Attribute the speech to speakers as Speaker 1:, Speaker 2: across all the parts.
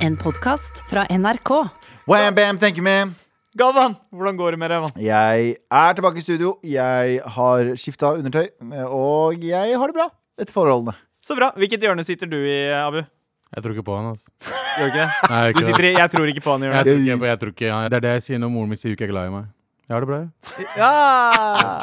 Speaker 1: En podkast fra NRK.
Speaker 2: Wham, bam, thank you, ma'am.
Speaker 3: Galvan, hvordan går det med deg? mann?
Speaker 2: Jeg er tilbake i studio. Jeg har skifta undertøy, og jeg har det bra etter forholdene.
Speaker 3: Så bra. Hvilket hjørne sitter du i, Abu?
Speaker 4: Jeg tror ikke på han, altså.
Speaker 3: Gjør du ikke det?
Speaker 4: Nei, jeg,
Speaker 3: Du
Speaker 4: gjør ikke det.
Speaker 3: sitter i Jeg tror ikke på han i
Speaker 4: jeg
Speaker 3: hjørnet.
Speaker 4: tror ikke på jeg tror ikke, han- Det er det jeg sier når moren min sier hun ikke er glad i meg. Jeg har det bra, jeg.
Speaker 3: Ja.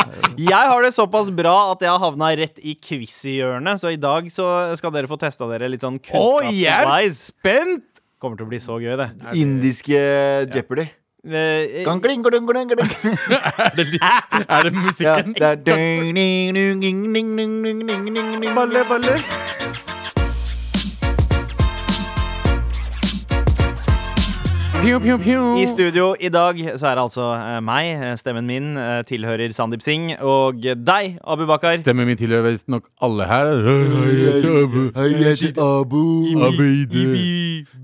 Speaker 3: Jeg har det såpass bra at jeg har havna rett i quiz-hjørnet, så i dag så skal dere få testa dere litt sånn kunnskapsveis.
Speaker 4: spent!
Speaker 3: Kommer til å bli så gøy, det.
Speaker 2: Indiske Jeopardy.
Speaker 3: Eh,
Speaker 2: Gang, gling, gling, gling, gling.
Speaker 4: Er det, li- er det
Speaker 2: Ja,
Speaker 4: musikken?
Speaker 2: det er ding, ding, ding, ding, ding, ding, ding, ding, ding, ding.
Speaker 4: Balle, balle. Pju, pju, pju.
Speaker 3: I studio i dag så er det altså eh, meg, eh, stemmen min, eh, tilhører Sandeep Singh, og deg, Abu Bakar.
Speaker 4: Stemmen min tilhører visstnok alle her.
Speaker 2: Hei, jeg heter Abu.
Speaker 4: Abide.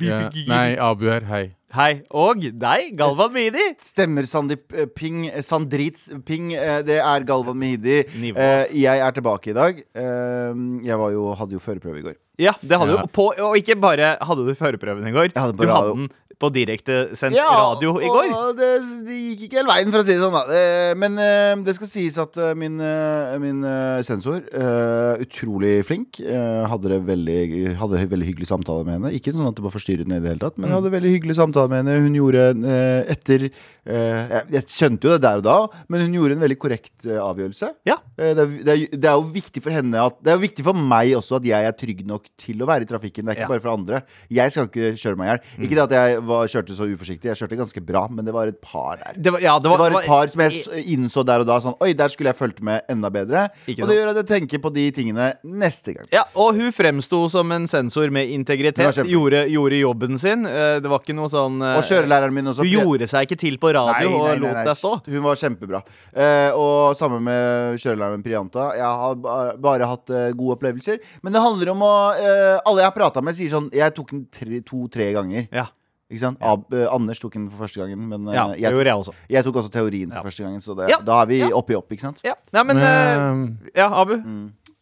Speaker 4: Ja.
Speaker 3: Nei.
Speaker 4: Nei, Abu her. Hei.
Speaker 3: Hei. Og deg, Galvan Midi.
Speaker 2: Stemmer Sandeep eh, Ping. eh, Sandrits Ping. eh, Det er Galvan Mehidi.
Speaker 3: Nivå.
Speaker 2: Eh, Jeg er tilbake i dag. Eh, Jeg var jo, hadde jo førerprøve i går.
Speaker 3: Ja, det hadde
Speaker 4: Ja.
Speaker 3: du. På, og ikke bare hadde du førerprøven i går.
Speaker 2: Jeg hadde på
Speaker 3: du
Speaker 2: radio.
Speaker 3: hadde den på direktesendt radio i går.
Speaker 2: Og det, det gikk ikke hele veien, for å si det sånn. da Eh, Men eh, det skal sies at eh, min, eh, min eh, sensor, eh, utrolig flink, eh, hadde, det veldig, hadde en veldig hyggelig samtale med henne. Ikke sånn at det var forstyrrende i det hele tatt,
Speaker 3: Mm.
Speaker 2: men jeg hadde en veldig hyggelig samtale med henne. Hun gjorde en, eh, etter eh, jeg, jeg skjønte jo det der og da, men hun gjorde en veldig korrekt eh, avgjørelse.
Speaker 3: Ja.
Speaker 2: Eh, Det er, det, er, det er jo viktig for henne at, Det er jo viktig for meg også at jeg er trygg nok til å være i trafikken. Det er ikke
Speaker 3: Ja. Mm.
Speaker 2: bare for andre. Jeg skal ikke kjøre meg i hjel. Ikke det at jeg var, kjørte så uforsiktig, jeg kjørte ganske bra, men det var et par der.
Speaker 3: Det var, ja,
Speaker 2: Det
Speaker 3: det var,
Speaker 2: var et par som jeg s- innså der og da sånn Oi, der skulle jeg fulgt med enda bedre.
Speaker 3: Ikke
Speaker 2: Og det gjør at jeg tenker på de tingene neste gang.
Speaker 3: Ja, og hun fremsto som en sensor med
Speaker 2: Det var
Speaker 3: integritet.
Speaker 2: kjempe-
Speaker 3: Gjorde, gjorde jobben sin. Eh, Det var ikke noe sånn eh,
Speaker 2: Og kjørelæreren min også.
Speaker 3: Hun gjorde seg ikke til på radio og lot deg stå.
Speaker 2: Hun var kjempebra. Eh, og sammen med kjørelæreren min Prianta. Jeg har ba- bare hatt eh, gode opplevelser. Men det handler om å eh, Alle jeg har prata med, sier sånn Jeg tok den to-tre ganger.
Speaker 3: Ja,
Speaker 2: Ikke sant? Ab, eh, Anders tok den for første gangen, men eh,
Speaker 3: ja det
Speaker 2: jeg,
Speaker 3: gjorde jeg også.
Speaker 2: tok, jeg tok også teorien for
Speaker 3: Ja.
Speaker 2: første gangen, så det,
Speaker 3: Ja,
Speaker 2: da er vi
Speaker 3: ja.
Speaker 2: oppi opp, ikke sant?
Speaker 3: Ja, Nei, men eh,
Speaker 4: Um,
Speaker 3: Ja, Abu.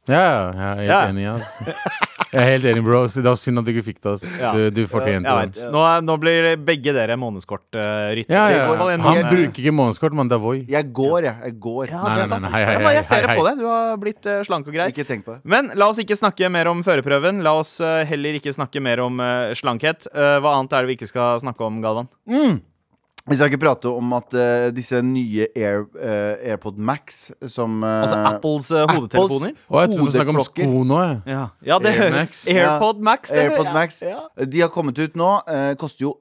Speaker 4: Ja, ja, jeg er helt
Speaker 3: Ja.
Speaker 4: enig, ass. Jeg er helt enig, bro. ass. Det var synd at du ikke fikk det, ass.
Speaker 3: Ja.
Speaker 4: Du, du fortjente
Speaker 3: Jeg vet.
Speaker 4: det.
Speaker 3: Nå, er- nå blir begge dere månedskortryttere.
Speaker 4: Ja, ja.
Speaker 2: Det går-
Speaker 4: Han bruker ikke månedskort, men det er Voi.
Speaker 2: Jeg går, jeg. jeg går.
Speaker 3: Ja,
Speaker 4: Nei,
Speaker 3: det
Speaker 4: nei,
Speaker 3: er sant.
Speaker 4: nei, hei, hei,
Speaker 3: Ja, bare Jeg ser
Speaker 4: hei,
Speaker 3: det på
Speaker 4: hei.
Speaker 3: deg. Du har blitt eh, slank og grei.
Speaker 2: Ikke tenk på det.
Speaker 3: Men la oss ikke snakke mer om førerprøven. La oss eh, heller ikke snakke mer om eh, slankhet. Eh, hva annet er det vi ikke skal snakke om, Galvan?
Speaker 2: Vi skal ikke prate om at eh, disse nye Air, eh, AirPod Max som eh,
Speaker 3: Altså Apples eh, hodetelefoner?
Speaker 4: Og jeg trodde du snakket om
Speaker 2: hodeklokker.
Speaker 4: sko nå, jeg.
Speaker 3: Ja, ja det
Speaker 4: Air
Speaker 3: høres
Speaker 4: Max.
Speaker 3: AirPod Max. det
Speaker 2: AirPod
Speaker 3: hører jeg.
Speaker 2: Max.
Speaker 3: Ja.
Speaker 2: De har kommet ut nå. eh, koster jo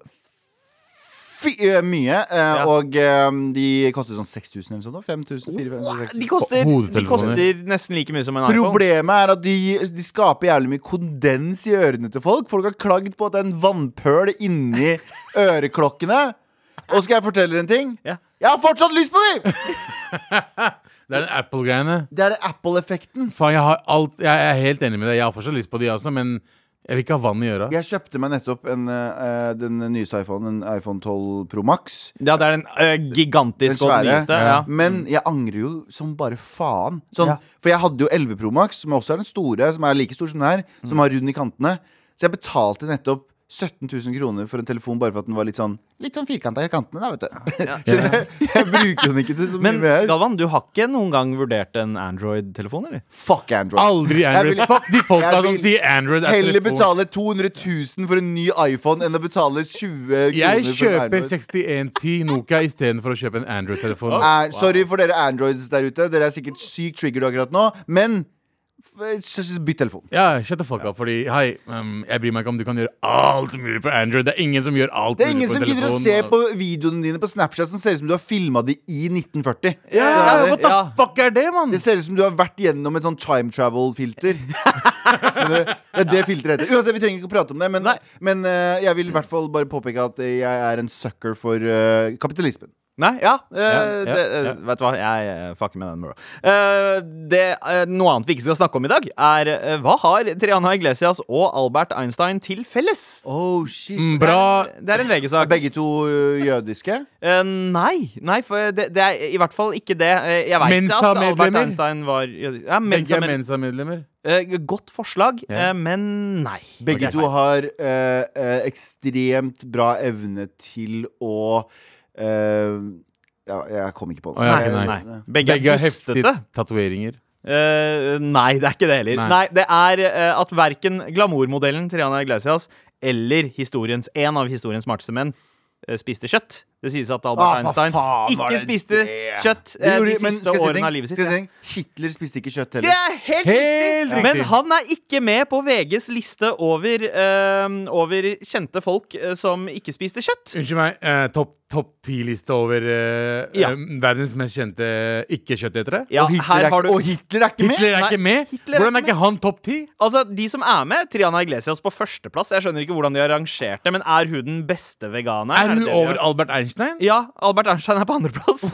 Speaker 2: fy, eh, mye. eh,
Speaker 3: Ja.
Speaker 2: Og eh, de koster sånn 6000 eller sånn. 5000, 4000,
Speaker 3: De koster, de
Speaker 4: Hodetelefoner.
Speaker 3: koster nesten like mye som en iPhone.
Speaker 2: Problemet er at de, de skaper jævlig mye kondens i ørene til folk. Folk har klagd på at det er en vannpøl inni øreklokkene. Og skal jeg fortelle dere en ting?
Speaker 3: Ja.
Speaker 2: Jeg har fortsatt lyst på dem!
Speaker 4: Det er den Apple-greiene.
Speaker 2: Det er det Apple-effekten.
Speaker 4: Faen, jeg har alt Jeg er helt enig med deg. Jeg har fortsatt lyst på de også, men jeg vil ikke ha vann i øra.
Speaker 2: Jeg kjøpte meg nettopp en, eh, den nyeste iPhonen, en iPhone 12 Pro Max.
Speaker 3: Ja, det er den eh, gigantiske og
Speaker 2: Den svære.
Speaker 3: nyeste. Ja. Mm.
Speaker 2: Men jeg angrer jo som bare faen. Sånn,
Speaker 3: Ja.
Speaker 2: For jeg hadde jo 11 Pro Max, som også er den store, som er like stor som den her,
Speaker 3: Mm.
Speaker 2: som har rund i kantene. Så jeg betalte nettopp 17 000 kroner for en telefon bare for at den var litt sånn Litt sånn firkanta i kantene, da, vet du. Skjønner du? Jeg bruker den ikke til så mye
Speaker 3: Men
Speaker 2: mer.
Speaker 3: Galvan, du har ikke noen gang vurdert en Android-telefon, eller?
Speaker 2: Fuck Android.
Speaker 4: Aldri Android.
Speaker 2: Jeg vil-
Speaker 4: Fuck de folka
Speaker 2: Jeg
Speaker 4: som
Speaker 2: vil
Speaker 4: sier Android er
Speaker 2: Heller
Speaker 4: telefon.
Speaker 2: betale 200 000 for en ny iPhone enn å betale 20 kroner
Speaker 4: Jeg
Speaker 2: for en
Speaker 4: kjøper
Speaker 2: Android.
Speaker 4: 6110 Nokia istedenfor å kjøpe en Android-telefon.
Speaker 2: er, Sorry for dere Androids der ute. Dere er sikkert sykt triggered akkurat nå, men f- bytt telefon.
Speaker 4: Ja, shut the fuck up, fordi hei, um, jeg bryr meg ikke om du kan gjøre alt mulig på Android. Det er ingen som gjør alt
Speaker 2: Det er ingen
Speaker 4: mulig på
Speaker 2: som
Speaker 4: telefon.
Speaker 2: gidder å se på videoene dine på Snapchat som ser ut som du har filma de i 1940.
Speaker 4: Ja,
Speaker 2: det,
Speaker 4: what the
Speaker 3: Ja.
Speaker 4: fuck er det, mann?
Speaker 2: det ser ut som du har vært gjennom et sånn time travel-filter. Skjønner du? det er det filteret heter. Uansett, vi trenger ikke å prate om det, men,
Speaker 3: Nei.
Speaker 2: men eh, jeg vil i hvert fall bare påpeke at jeg er en sucker for eh, kapitalismen.
Speaker 3: Nei, ja. eh,
Speaker 4: Ja, ja,
Speaker 3: det, eh,
Speaker 4: ja.
Speaker 3: Vet du hva, jeg eh, fucker med den, bro. Eh, det, eh, noe annet vi ikke skal snakke om i dag, er eh, hva har Triana Iglesias og Albert Einstein til felles?
Speaker 2: Oh, shit.
Speaker 4: Mm, Bra.
Speaker 3: Det er en VG-sak.
Speaker 2: Begge to ø, jødiske.
Speaker 3: Eh, nei, nei, for det, det er i hvert fall ikke det. Eh, Jeg veit at
Speaker 4: Mensa-medlemmer?
Speaker 3: Albert Einstein var ja,
Speaker 4: Begge
Speaker 3: Mensa,
Speaker 4: er
Speaker 3: men,
Speaker 4: Mensa-medlemmer.
Speaker 3: eh, godt forslag,
Speaker 4: Ja.
Speaker 3: eh, men nei.
Speaker 2: Begge
Speaker 4: Ok.
Speaker 2: to har ø, ø, ekstremt bra evne til å ø, ja, Jeg kom ikke på
Speaker 4: Å,
Speaker 2: det.
Speaker 4: ja,
Speaker 3: Nei,
Speaker 4: ok,
Speaker 3: nei.
Speaker 4: nice.
Speaker 3: Begge, er
Speaker 4: Begge har heftige
Speaker 3: pustete.
Speaker 4: tatoveringer.
Speaker 3: Eh, nei, det er ikke det heller. Nei,
Speaker 4: Nei.
Speaker 3: Det er eh, at verken glamourmodellen Triana Iglesias eller historiens, en av historiens smarteste menn eh, spiste kjøtt. Det sies at Albert
Speaker 2: Ah, hva
Speaker 3: Einstein
Speaker 2: faen var
Speaker 3: ikke
Speaker 2: det
Speaker 3: spiste
Speaker 2: det?
Speaker 3: kjøtt
Speaker 2: Det
Speaker 3: eh,
Speaker 2: gjorde-
Speaker 3: de
Speaker 2: men
Speaker 3: siste
Speaker 2: skal jeg si en ting?
Speaker 3: årene av livet sitt.
Speaker 2: Skal jeg si
Speaker 3: Ja.
Speaker 2: en ting? Hitler spiste ikke kjøtt
Speaker 3: Det
Speaker 2: heller.
Speaker 3: er helt,
Speaker 4: Helt
Speaker 3: riktig!
Speaker 4: riktig.
Speaker 3: Men han er ikke med på VGs liste over, eh, over kjente folk eh, som ikke spiste kjøtt.
Speaker 4: Unnskyld meg, eh, topp top ti-liste over eh,
Speaker 3: Ja.
Speaker 4: eh, verdens mest kjente ikke-kjøttetere?
Speaker 3: Ja,
Speaker 2: og, Hitler
Speaker 3: her
Speaker 2: er,
Speaker 3: har du
Speaker 2: og Hitler er ikke med!
Speaker 4: Hitler er
Speaker 3: Nei,
Speaker 4: ikke med?
Speaker 3: Hitler er
Speaker 4: Hvordan
Speaker 3: ikke
Speaker 4: er ikke han topp ti?
Speaker 3: Altså, De som er med, Triana Iglesias på førsteplass. Jeg skjønner ikke hvordan de har rangert det, men er hun den beste veganeren?
Speaker 4: Er
Speaker 3: det
Speaker 4: hun
Speaker 3: det vi har-
Speaker 4: over Albert Einstein?
Speaker 3: Ja, Albert Einstein er på andreplass.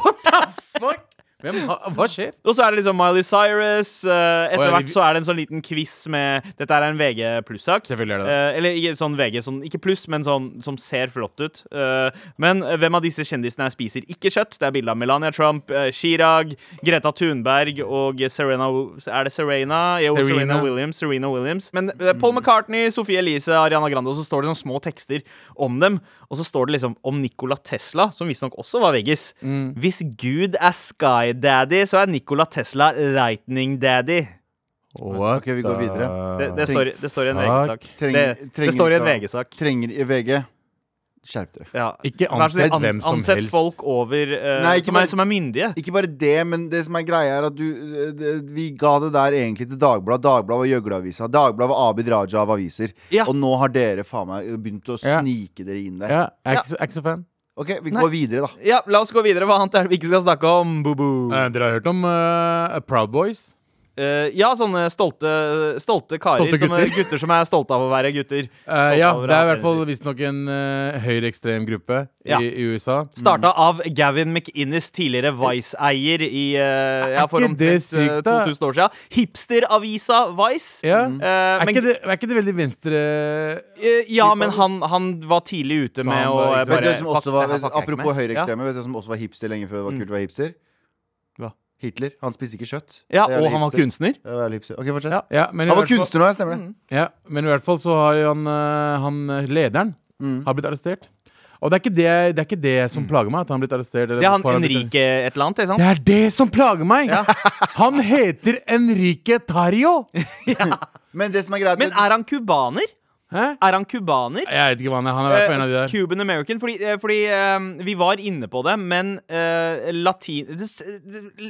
Speaker 4: Fuck! Hvem, ha- hva skjer?
Speaker 3: Og så er det liksom Miley Cyrus. eh, etter
Speaker 4: Å, ja, vi-
Speaker 3: hvert så er det en sånn liten quiz med Dette er en VG pluss-sak.
Speaker 4: Selvfølgelig er det det.
Speaker 3: Eh, eller ikke sånn VG, sånn, ikke pluss, men sånn som ser flott ut. Eh, men eh, hvem av disse kjendisene her spiser ikke kjøtt? Det er bilde av Melania Trump, eh, Chirag, Greta Thunberg og Serena Er det Serena? Jo, Oh, Serena,
Speaker 4: Serena.
Speaker 3: Williams. Serena Williams. Men eh, Paul McCartney, Sophie Elise, Ariana Grande, og så står det sånne små tekster om dem. Og så står det liksom om Nikola Tesla, som visstnok også var veggis.
Speaker 4: Mm.
Speaker 3: Hvis Gud er Sky Daddy, så er Nikola Tesla Lightning Daddy.
Speaker 4: What
Speaker 2: Ok, vi går videre.
Speaker 3: Det, det,
Speaker 2: Tenk-
Speaker 3: står, det står i en
Speaker 4: Fuck.
Speaker 3: VG-sak. Det,
Speaker 2: Trenger-
Speaker 3: det
Speaker 2: trenger
Speaker 3: står i en
Speaker 2: ikke å-
Speaker 3: VG-sak.
Speaker 2: Trenger i VG Skjerp dere.
Speaker 3: Ja.
Speaker 4: Ikke
Speaker 3: Vær så snill,
Speaker 4: ansett hvem som
Speaker 3: ansett
Speaker 4: helst.
Speaker 3: folk over eh,
Speaker 2: Nei, ikke
Speaker 3: som,
Speaker 2: bare-
Speaker 3: er, som er myndige.
Speaker 2: Ikke bare det, men det som er greia, er at du eh, det- Vi ga det der egentlig til Dagbladet. Dagbladet var gjøgleavisa. Dagbladet var Abid Raja av aviser.
Speaker 3: Ja.
Speaker 2: Og nå har dere faen meg begynt å
Speaker 4: Ja.
Speaker 2: snike dere inn der.
Speaker 4: Ja, jeg er ikke så- jeg er ikke så fan.
Speaker 2: Ok, vi
Speaker 3: Nei.
Speaker 2: går videre, da.
Speaker 3: Ja, La oss gå videre. Hva annet er det vi ikke skal snakke om? Boo-boo.
Speaker 4: Eh, dere har hørt om eh, Proud Boys?
Speaker 3: Eh, ja, sånne stolte, stolte karer.
Speaker 4: Stolte
Speaker 3: Stolte gutter.
Speaker 4: gutter.
Speaker 3: Som, gutter som er stolte av å være gutter.
Speaker 4: Eh,
Speaker 3: Stolte
Speaker 4: ja,
Speaker 3: av å
Speaker 4: det er i
Speaker 3: være
Speaker 4: hvert fall visstnok en uh, høyreekstrem gruppe
Speaker 3: Ja.
Speaker 4: i, i USA.
Speaker 3: Starta av Gavin McInnes, tidligere Vice-eier i eh, ja, for
Speaker 4: ikke
Speaker 3: omtrent
Speaker 4: det
Speaker 3: eh,
Speaker 4: sykt, da?
Speaker 3: 2000 år siden. Hipsteravisa Vice.
Speaker 4: Ja.
Speaker 3: Eh,
Speaker 4: Er,
Speaker 3: men,
Speaker 4: ikke det, er ikke det veldig venstre
Speaker 3: eh, ja, men han, han var tidlig ute
Speaker 4: Så
Speaker 3: med
Speaker 4: han
Speaker 3: å
Speaker 4: var
Speaker 3: eh,
Speaker 2: Vet
Speaker 4: liksom-
Speaker 2: du
Speaker 3: bare
Speaker 2: hvem som
Speaker 3: fuck,
Speaker 2: også var,
Speaker 3: det her fucker jeg ikke
Speaker 2: apropos
Speaker 3: med. Mm.
Speaker 2: høyreekstreme, vet du hvem som også var hipster lenge før det var kult å være hipster?
Speaker 3: Hva?
Speaker 2: Hitler. Han spiste ikke kjøtt.
Speaker 3: Ja,
Speaker 2: Det er
Speaker 3: ja og
Speaker 2: jævlig
Speaker 3: han var
Speaker 2: hipster.
Speaker 3: kunstner.
Speaker 2: Det er jævlig hipster. Ok, fortsett.
Speaker 3: Ja. Mm.
Speaker 4: ja, men
Speaker 2: Han
Speaker 4: i
Speaker 2: var
Speaker 4: hvert fall-
Speaker 2: kunstner nå, jeg stemmer det.
Speaker 4: Ja, men i hvert fall så har jo han, eh, han eh, lederen
Speaker 3: Mm.
Speaker 4: har blitt arrestert. Og det er ikke det, det, er ikke det som plager meg. At han har blitt arrestert eller
Speaker 3: Det er Mm. han
Speaker 4: hvorfor har blitt-
Speaker 3: Enrique et eller annet, ikke sant?
Speaker 4: Det er det som plager meg! Han heter Enrique Tario!
Speaker 2: Men det som er greit
Speaker 3: Men er han cubaner?
Speaker 4: Hæ?
Speaker 3: Er han cubaner?
Speaker 4: Jeg vet ikke hva han er. Han er i hvert fall en av de
Speaker 3: Eh,
Speaker 4: der.
Speaker 3: Cuban American. Fordi, eh, fordi eh, vi var inne på det, men eh, latin... det s-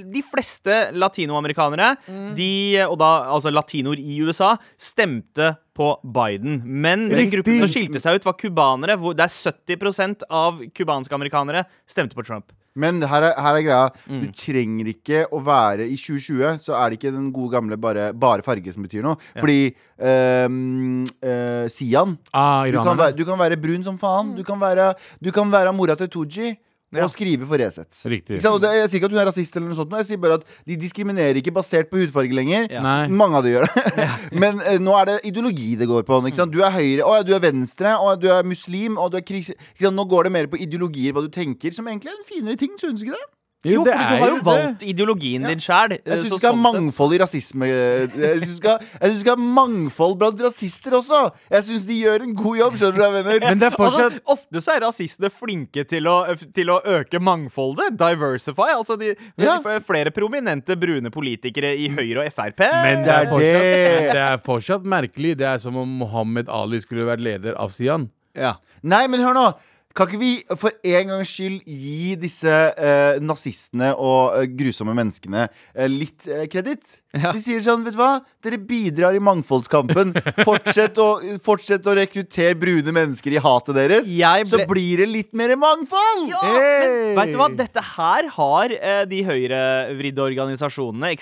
Speaker 3: De fleste latinoamerikanere, de, og da altså latinoer i USA, stemte på Biden. Men den
Speaker 4: Riktig.
Speaker 3: gruppen som skilte seg ut, var cubanere. hvor- Der 70 av cubanske amerikanere stemte på Trump.
Speaker 2: Men her er, her er greia. Du
Speaker 4: Mm.
Speaker 2: trenger ikke å være I 2020 så er det ikke den gode gamle bare, bare farge som betyr noe. Fordi ehm, eh, Sian
Speaker 4: Ah,
Speaker 2: du kan, være,
Speaker 4: iranerne.
Speaker 2: du kan være brun som faen. Du kan være, du kan være mora til Tooji.
Speaker 3: Ja.
Speaker 2: Og skrive for Resett.
Speaker 4: Riktig.
Speaker 2: Ikke sant? Og det- Jeg sier ikke at hun er rasist, eller noe sånt nå, jeg sier bare at de diskriminerer ikke basert på hudfarge lenger.
Speaker 3: Ja.
Speaker 4: Nei.
Speaker 2: Mange av de gjør det. Men eh, nå er det ideologi det går på. Ikke sant? Du er høyre, å, ja, du er venstre, å, ja, du er muslim å, du er kris... Ikke sant? Nå går det mer på ideologier, hva du tenker, som egentlig er en finere ting, synes du ikke det?
Speaker 3: Jo, for du har jo
Speaker 4: det.
Speaker 3: valgt ideologien din eh, sjæl.
Speaker 2: Jeg syns du
Speaker 3: sånn
Speaker 4: sånn
Speaker 2: skal ha mangfold i rasisme. eh, Jeg syns du skal jeg synes du skal ha mangfold blant rasister også. Jeg syns de gjør en god jobb, skjønner du, da, venner.
Speaker 4: Men det er fortsatt
Speaker 3: altså, ofte så er rasistene flinke til å, til å øke mangfoldet. Diversify. Altså de,
Speaker 2: Ja.
Speaker 3: f- flere prominente brune politikere i Høyre og Frp.
Speaker 4: Men
Speaker 2: Det
Speaker 4: det er,
Speaker 2: er
Speaker 4: fortsatt,
Speaker 2: det.
Speaker 4: det er fortsatt merkelig. Det er som om Mohammed Ali skulle vært leder av Sian.
Speaker 3: ja.
Speaker 2: Nei, men hør nå. Kan ikke vi for en gangs skyld gi disse eh, nazistene og eh, grusomme menneskene eh, litt eh, kreditt? De sier sånn, vet du hva? Dere bidrar i mangfoldskampen. Fortsett å, fortsett å rekruttere brune mennesker i hatet deres.
Speaker 3: Jeg
Speaker 2: Så
Speaker 3: ble-
Speaker 2: blir det litt mer mangfold!
Speaker 3: Ja,
Speaker 4: Hey!
Speaker 3: men vet du hva? Dette her har eh, de høyrevridde organisasjonene,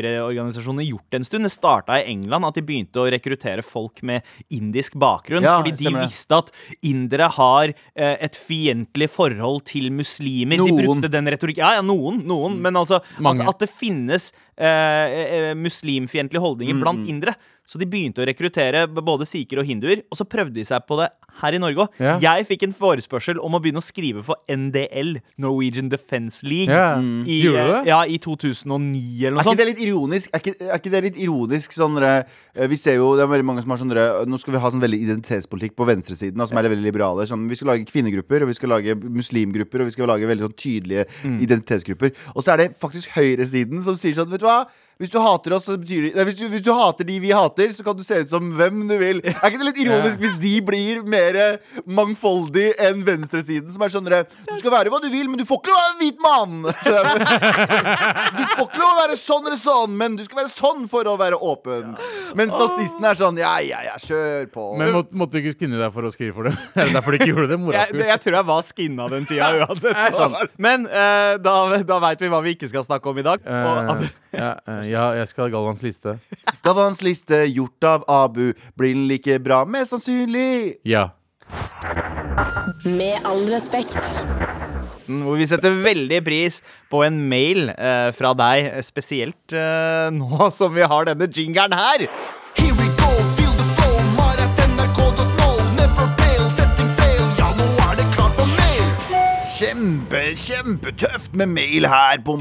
Speaker 3: ekstremhøyreorganisasjonene, gjort en stund. Det starta i England at de begynte å rekruttere folk med indisk bakgrunn.
Speaker 2: Ja,
Speaker 3: fordi de
Speaker 2: stemmer det.
Speaker 3: visste at indere har eh, eh, et fiendtlig forhold til muslimer. De
Speaker 2: Noen. Mm.
Speaker 3: brukte den retorikken. Ja, ja, noen, noen. Men altså at,
Speaker 4: Mange.
Speaker 3: at det finnes eh, eh, muslimfiendtlige
Speaker 2: Mm,
Speaker 3: holdninger blant indere. Så de begynte å rekruttere b- både sikher og hinduer, og så prøvde de seg på det her i Norge òg.
Speaker 4: Ja.
Speaker 3: Jeg fikk en forespørsel om å begynne å skrive for NDL, Norwegian Defence League,
Speaker 4: Ja.
Speaker 3: i,
Speaker 4: Gjorde du
Speaker 3: eh,
Speaker 4: det?
Speaker 3: ja, i 2009 eller noe
Speaker 2: Er ikke
Speaker 3: sånt.
Speaker 2: det litt ironisk? Er ikke, er ikke det litt ironisk sånn dere, eh, Vi ser jo, det er veldig mange som har sånn dere, Nå skal vi ha sånn veldig identitetspolitikk på venstresiden da, Som er veldig liberale sånn, Vi skal lage kvinnegrupper, og vi skal lage muslimgrupper Og vi skal lage veldig sånn tydelige
Speaker 3: Mm.
Speaker 2: identitetsgrupper Og så er det faktisk høyresiden som sier sånn Vet du hva? Hvis du hater oss, så betyr det nei, hvis, du, hvis du hater de vi hater, så kan du se ut som hvem du vil. Er ikke det litt ironisk hvis de blir mer eh, mangfoldig enn venstresiden, som er sånn dere, Du skal være hva du vil, men du får ikke lov å være en hvit mann! Så- du får ikke lov å være sånn eller sånn, men du skal være sånn for å være åpen. Mens nazistene er sånn Ja, ja, ja, kjør på.
Speaker 4: Men må, måtte du ikke skinne deg for å skrive for det? Er det derfor du ikke gjorde det? Mora
Speaker 3: jeg,
Speaker 4: skulle
Speaker 3: jeg tror jeg var skinna den tida uansett. Men eh, da, da veit vi hva vi ikke skal snakke om i dag. Og,
Speaker 4: Eh, ja, eh, ja, jeg skal ha Galvans liste.
Speaker 2: Da var hans liste gjort av Abu. Blir den like bra? Mest sannsynlig.
Speaker 4: Ja.
Speaker 1: Med all respekt.
Speaker 3: Aften, hvor vi setter veldig pris på en mail eh, fra deg, spesielt eh, nå som vi har denne jingeren her.
Speaker 5: Here we go, feel the flow, maratnrk.no, never fail, setting sail, ja nå er det klart for mail.
Speaker 2: Kjempe, kjempetøft med mail her på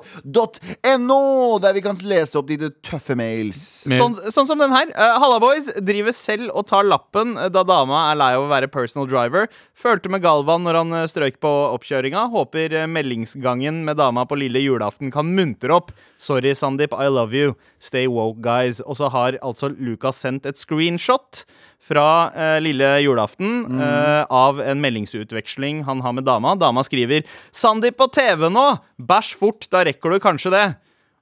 Speaker 2: mar.nrk.no, der vi kan lese opp dine tøffe mails.
Speaker 4: Mail.
Speaker 3: Sånn, sånn som den her. Eh, Halla, boys. Driver selv og tar lappen eh, da dama er lei av å være personal driver. Følte med Galvan når han eh, strøyk på oppkjøringa. Håper eh, meldingsgangen med dama på lille julaften kan muntre opp. Sorry, Sandeep. I love you. Stay woke, guys. Og så har altså Lucas sendt et screenshot fra eh, lille julaften eh, av en meldingsutveksling han har med dama. Dama skriver 'Sandeep på TV nå! Bæsj fort, da rekker du kanskje det'.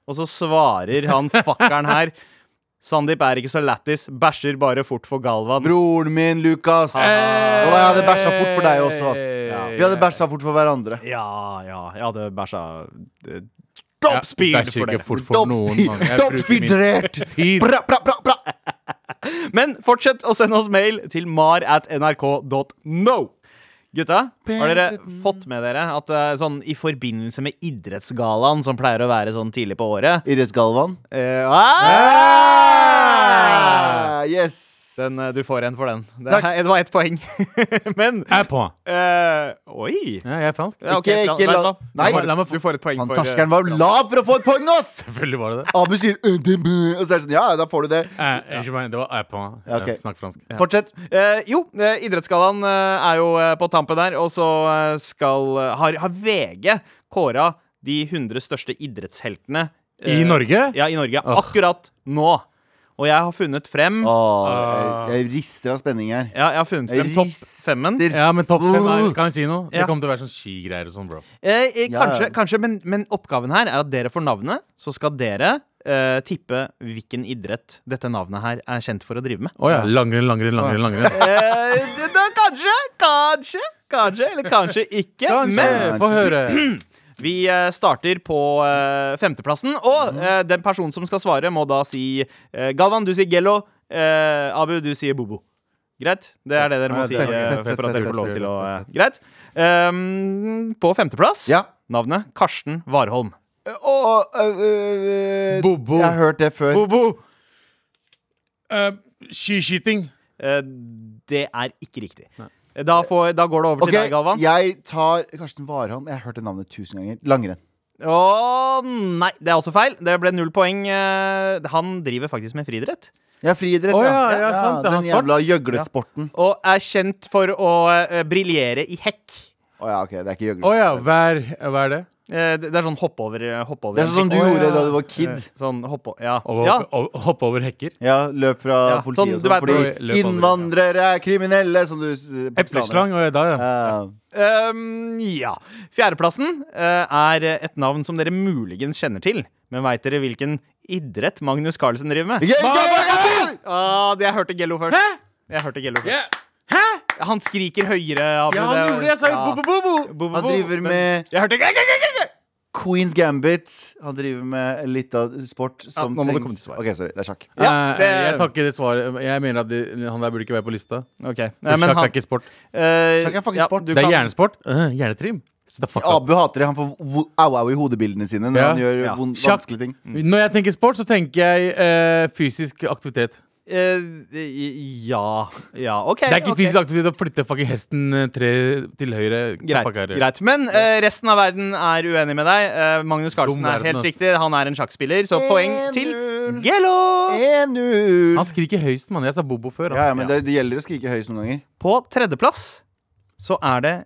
Speaker 3: Og så svarer han fuckeren her Sandeep er ikke så lættis, bæsjer bare fort for Galvan.
Speaker 2: Broren min, Lukas. Og jeg hadde bæsja fort for deg også. Ass. Vi hadde bæsja fort for hverandre.
Speaker 3: Ja, ja, jeg hadde bæsja eh, Top speed
Speaker 4: Jeg bæsjer
Speaker 3: for det.
Speaker 4: ikke fort for noen. mann. Jeg bruker min
Speaker 2: Doppspidrert!
Speaker 4: tid.
Speaker 2: Bra, bra, bra, bra!
Speaker 3: Men fortsett å sende oss mail til mar at nrk.no. Gutta, har dere fått med dere at eh, sånn i forbindelse med idrettsgallaen, som pleier å være sånn tidlig på året
Speaker 2: Idrettsgalvan.
Speaker 3: eh, ah!
Speaker 2: Ah, yes.
Speaker 3: den, eh, Du får en for den. Det, er- det var ett poeng. Men
Speaker 4: Jeg er på.
Speaker 3: eh, Oi!
Speaker 4: Ja, jeg er fransk.
Speaker 3: Ja, ok,
Speaker 2: Ikke-
Speaker 3: bra,
Speaker 2: ikke
Speaker 3: vet du
Speaker 2: la-
Speaker 3: hva?
Speaker 2: Nei.
Speaker 3: Du får-
Speaker 4: La meg få-
Speaker 3: Du får et poeng
Speaker 2: Han
Speaker 3: for eh,
Speaker 2: terskeren var lav for å få et poeng, ass!
Speaker 4: Selvfølgelig var det det.
Speaker 2: Abu sier «Øh, det bø», Og så er det sånn, ja, da får du det.
Speaker 4: Eh, Unnskyld meg, det var jeg er på.
Speaker 2: Ja, ok.
Speaker 4: Eh, Snakk fransk.
Speaker 2: Fortsett.
Speaker 3: Eh, jo, eh, Idrettsgallaen eh, er jo eh, på tampen der, og så eh, skal eh, har, har VG kåra de 100 største idrettsheltene eh,
Speaker 4: I Norge?
Speaker 3: Ja, i Norge. Akkurat nå. Og jeg har funnet frem
Speaker 4: Ah.
Speaker 2: Åh, Ah, jeg, jeg rister av spenning her.
Speaker 3: ja, jeg har funnet frem
Speaker 2: Jeg
Speaker 3: topp
Speaker 2: rister.
Speaker 3: femmen.
Speaker 4: Ja, men topp fem er- Kan jeg si noe?
Speaker 3: Ja.
Speaker 4: Det kommer til å være sånn skigreier og sånn, bro.
Speaker 3: Eh, eh,
Speaker 2: Ja,
Speaker 3: kanskje,
Speaker 2: ja.
Speaker 3: kanskje men, men oppgaven her er at dere får navnet, så skal dere eh, tippe hvilken idrett dette navnet her er kjent for å drive med.
Speaker 4: Å ja. Langrenn, langrenn, langrenn. langrenn.
Speaker 3: Eh, det- da kanskje, kanskje, kanskje, eller kanskje ikke. Men
Speaker 4: Kanskje. Få høre.
Speaker 3: Vi eh, starter på eh, femteplassen, og
Speaker 4: Mhm.
Speaker 3: eh, den personen som skal svare, må da si eh, Galvan, du sier Gello. eh, Abu, du sier Bobo. Greit? Det er det dere må
Speaker 4: Ja,
Speaker 3: si
Speaker 4: det er
Speaker 3: eh,
Speaker 2: greit.
Speaker 3: for at dere får lov til å eh, Greit. Ehm, på femteplass,
Speaker 2: Ja.
Speaker 3: navnet Karsten Warholm.
Speaker 2: Og øh, øh,
Speaker 4: Bobo.
Speaker 2: Jeg har hørt det før.
Speaker 3: Bobo!
Speaker 4: Eh, Skiskyting.
Speaker 3: Eh, det er ikke riktig. Da, får, da går det over
Speaker 2: Ok,
Speaker 3: til deg, Galvan.
Speaker 2: jeg tar Karsten Warholm. Jeg har hørt det navnet tusen ganger. Langrenn.
Speaker 3: Å nei, det er også feil. Det ble null poeng. Eh, han driver faktisk med friidrett.
Speaker 2: Ja, friidrett,
Speaker 4: Å, ja, ja, sant, det er
Speaker 2: Den
Speaker 4: han svart.
Speaker 2: jævla gjøglesporten.
Speaker 3: Og er kjent for å eh, briljere i hekk.
Speaker 2: Å ja, ok, det er ikke
Speaker 4: Å
Speaker 2: gjøglesporten.
Speaker 4: ja, hver, hva er det?
Speaker 3: Eh, Det det er sånn hopp over hopp over
Speaker 2: Det er sånn som du
Speaker 3: en ting.
Speaker 2: gjorde da du var
Speaker 3: Eh,
Speaker 2: kid.
Speaker 3: Sånn hopp over Ja.
Speaker 4: Å
Speaker 3: ja.
Speaker 4: å- hoppe over hekker?
Speaker 2: Ja, løp fra
Speaker 3: Ja, sånn,
Speaker 2: politiet og sånn.
Speaker 3: du vet-
Speaker 4: Løp
Speaker 2: Fordi
Speaker 4: aldri, ja.
Speaker 2: innvandrere er kriminelle, som du s- eh,
Speaker 4: Epleslang og da, ja.
Speaker 2: Ja.
Speaker 3: Um, ja. Fjerdeplassen eh, er et navn som dere muligens kjenner til. Men veit dere hvilken idrett Magnus Carlsen driver med?
Speaker 2: Ikke- ikke-
Speaker 3: Ah, det jeg hørte Gello først. Hæ? Jeg hørte Gello først. Han skriker høyere. Abu,
Speaker 4: Ja, han
Speaker 3: det-
Speaker 4: gjorde det! Jeg sa jo
Speaker 3: Ja.
Speaker 4: bo-bo-bo-bo!
Speaker 3: Bo, bo,
Speaker 2: Han
Speaker 3: bo.
Speaker 2: driver
Speaker 3: Men-
Speaker 2: med
Speaker 3: Jeg hørte
Speaker 2: Queens Gambit. Han driver med litt av sport som
Speaker 4: nå må du komme
Speaker 2: trengs.
Speaker 4: til svar.
Speaker 2: Ok, sorry, det er sjakk.
Speaker 3: Ja,
Speaker 4: Eh,
Speaker 3: det-
Speaker 4: Jeg takker det svaret. Jeg mener at det- han der burde ikke være på lista.
Speaker 3: Ok.
Speaker 4: For
Speaker 3: Nei, men
Speaker 4: sjakk
Speaker 3: han-
Speaker 4: er ikke sport.
Speaker 3: eh,
Speaker 2: Sjakk er faktisk
Speaker 3: ja,
Speaker 2: sport.
Speaker 3: du
Speaker 4: Det er
Speaker 3: kan-
Speaker 4: hjernesport. Øh, hjernetrim. Så det er fuck up.
Speaker 2: Abu hater det. Han får vo- au-au i hodebildene sine når
Speaker 4: Ja,
Speaker 2: han gjør
Speaker 3: ja.
Speaker 2: vond-
Speaker 4: Sjakk.
Speaker 2: vanskelige ting.
Speaker 4: Når jeg tenker sport, så tenker jeg eh, fysisk aktivitet.
Speaker 3: eh, i- ja. Ja, OK.
Speaker 4: Det er ikke
Speaker 3: ok.
Speaker 4: fysisk aktivitet å flytte fucking hesten eh, tre til høyre.
Speaker 3: Greit.
Speaker 4: Fuck her.
Speaker 3: greit. Men eh, resten av verden er uenig med deg. Eh, Magnus Carlsen
Speaker 4: Dum
Speaker 3: er
Speaker 4: verden,
Speaker 3: helt
Speaker 4: ass.
Speaker 3: riktig. Han er en sjakkspiller, så poeng til Gelo!
Speaker 2: 1-0.
Speaker 4: Han skriker høyest, mann. Jeg sa Bobo før.
Speaker 2: Ja,
Speaker 4: Han.
Speaker 2: ja, men det, det gjelder å skrike høyest noen ganger.
Speaker 3: På tredjeplass så er det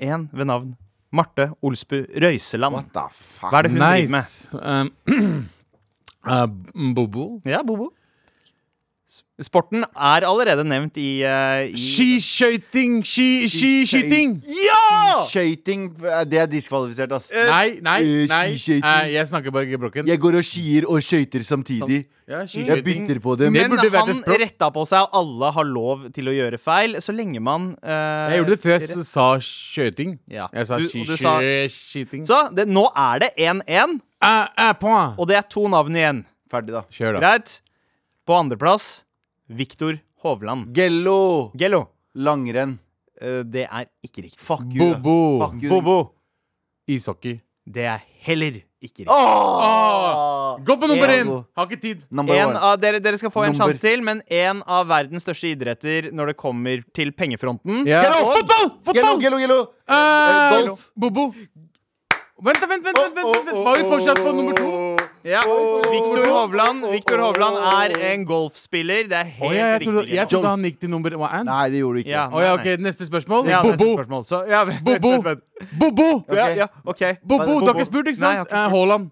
Speaker 3: en ved navn Marte Olsbu Røiseland.
Speaker 2: What the fuck?
Speaker 3: Hva er det hun driver med?
Speaker 4: Nice. Um, eh, Bobo.
Speaker 3: Ja, Ehm, Bobo. S- Sporten er allerede nevnt i, eh, i
Speaker 4: Skiskøyting! Ski- Skiskyting!
Speaker 3: Ja!
Speaker 2: Skøyting, eh, det er diskvalifisert, ass.
Speaker 4: Nei, nei,
Speaker 2: Eh,
Speaker 4: nei.
Speaker 2: skiskyting.
Speaker 4: Eh, jeg snakker bare ikke brokken.
Speaker 2: Jeg går og skier og skøyter samtidig.
Speaker 4: Ja,
Speaker 2: Jeg
Speaker 4: skiskyting.
Speaker 2: bytter på dem.
Speaker 4: Det
Speaker 3: Men
Speaker 4: burde vært
Speaker 3: han
Speaker 4: et språk.
Speaker 3: retta på seg, og alle har lov til å gjøre feil, så lenge man eh,
Speaker 4: Jeg gjorde det før jeg s- sa skøyting.
Speaker 3: Ja.
Speaker 4: Jeg sa
Speaker 3: Du- og du sa-
Speaker 4: skiskyting.
Speaker 3: Så det, nå er det 1-1,
Speaker 4: Ah, ah, point.
Speaker 3: og det er to navn igjen.
Speaker 2: Ferdig, da.
Speaker 4: Kjør, da.
Speaker 3: Greit. På andreplass Viktor Hovland.
Speaker 2: Gello.
Speaker 3: Gello.
Speaker 2: Langrenn.
Speaker 3: Eh, det er ikke riktig.
Speaker 2: Fuck you. da.
Speaker 4: Bobo.
Speaker 2: Fuck you.
Speaker 3: Bobo.
Speaker 4: Ishockey.
Speaker 3: Det er heller ikke riktig.
Speaker 4: Ah,
Speaker 2: Åh!
Speaker 4: Gå på nummer
Speaker 2: En.
Speaker 4: én! Har ikke tid.
Speaker 2: Number
Speaker 3: En
Speaker 2: one.
Speaker 3: av, dere, dere skal få en
Speaker 2: Nummer-
Speaker 3: sjanse til, men en av verdens største idretter når det kommer til pengefronten.
Speaker 4: Ja.
Speaker 2: Get off!
Speaker 4: Fotball!
Speaker 2: Gello,
Speaker 4: Fotball!
Speaker 2: gello, gello.
Speaker 4: Eh,
Speaker 2: Eh, golf.
Speaker 4: Bobo. Vent, da, vent, vent! vent, vent, vent. Var vi fortsatt på nummer to?
Speaker 3: Ja.
Speaker 4: Oh.
Speaker 3: Viktor Hovland Victor Hovland er en golfspiller. Det er
Speaker 4: Å
Speaker 3: helt
Speaker 4: ja, jeg
Speaker 3: riktig.
Speaker 4: trodde, jeg
Speaker 3: Gello.
Speaker 4: trodde han gikk til nummer én.
Speaker 2: Nei, det gjorde du ikke.
Speaker 3: Ja,
Speaker 4: Å
Speaker 3: nei,
Speaker 4: ja, ok,
Speaker 3: nei.
Speaker 4: neste spørsmål.
Speaker 3: Ja, neste
Speaker 4: Bobo.
Speaker 3: spørsmål. Så, ja, vent, vent,
Speaker 4: Bobo.
Speaker 3: vent, vent.
Speaker 4: Bobo.
Speaker 3: Ja,
Speaker 2: Ok.
Speaker 3: ja, ok.
Speaker 4: Bobo, du har ikke spurt, ikke
Speaker 3: Nei, jeg har ikke
Speaker 4: sant?
Speaker 3: spurt.
Speaker 4: Eh, Haaland.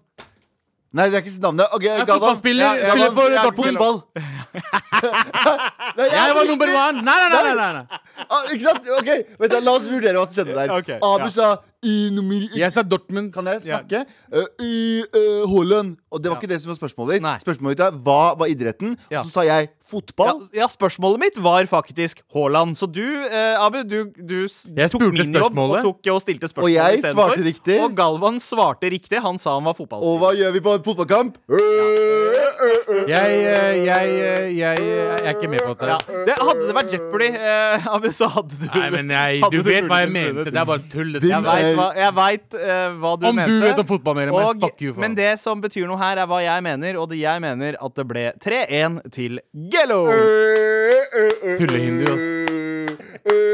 Speaker 2: Nei, det er ikke navnet. Ok,
Speaker 4: Jeg er
Speaker 2: Galvan.
Speaker 4: fotballspiller,
Speaker 2: Ja,
Speaker 4: spiller
Speaker 2: Galvan.
Speaker 4: for
Speaker 2: Ja,
Speaker 4: Dortmund.
Speaker 2: Fotball. Nei,
Speaker 4: Jeg var nummer én! Nei, nei, nei! nei, nei.
Speaker 2: Ah, ikke sant? Ok, Vent da, La oss vurdere hva som skjedde der.
Speaker 3: Ok,
Speaker 2: Abu
Speaker 3: ja.
Speaker 2: sa i nummer
Speaker 4: Jeg sa Dortmund.
Speaker 2: Kan jeg snakke? Eh, I eh, Haaland. Og det var ikke det som var spørsmålet ditt.
Speaker 3: Nei.
Speaker 2: Spørsmålet ditt er hva var idretten?
Speaker 3: Ja.
Speaker 2: Og så sa jeg
Speaker 3: Ja,
Speaker 2: fotball.
Speaker 3: ja, spørsmålet mitt var faktisk Haaland. Så du, eh, Abu, du, du s-
Speaker 4: Jeg
Speaker 3: tok min
Speaker 4: spurte
Speaker 3: jobb og,
Speaker 4: spørsmålet.
Speaker 3: tok, og stilte spørsmål
Speaker 2: Og jeg
Speaker 3: istedenfor.
Speaker 2: svarte riktig.
Speaker 3: Og Galvan svarte riktig. Han sa han var
Speaker 2: Og
Speaker 3: fotballspiller.
Speaker 2: hva gjør vi på en fotballkamp? Eh, eh, eh.
Speaker 4: Jeg, eh, jeg, eh, jeg, eh, jeg er ikke med på dette.
Speaker 3: Ja. Det, hadde det vært Jeopardy, eh, Abu, så hadde du
Speaker 4: Nei, men jeg,
Speaker 3: hadde
Speaker 4: du vet hva jeg
Speaker 3: muligens
Speaker 4: mente.
Speaker 3: vunnet.
Speaker 4: Det er bare tull. dette.
Speaker 2: Hvem
Speaker 3: Jeg
Speaker 2: er-
Speaker 3: veit
Speaker 4: Jeg
Speaker 3: hva, jeg vet, eh, hva du
Speaker 4: Om
Speaker 3: mente.
Speaker 4: du vet om fotball mer enn meg,
Speaker 3: og-
Speaker 4: fuck you, faen.
Speaker 3: Men det som betyr noe her, er hva jeg mener, og det jeg mener at det ble 3-1 til Gello.
Speaker 4: vet tullehindu, ass.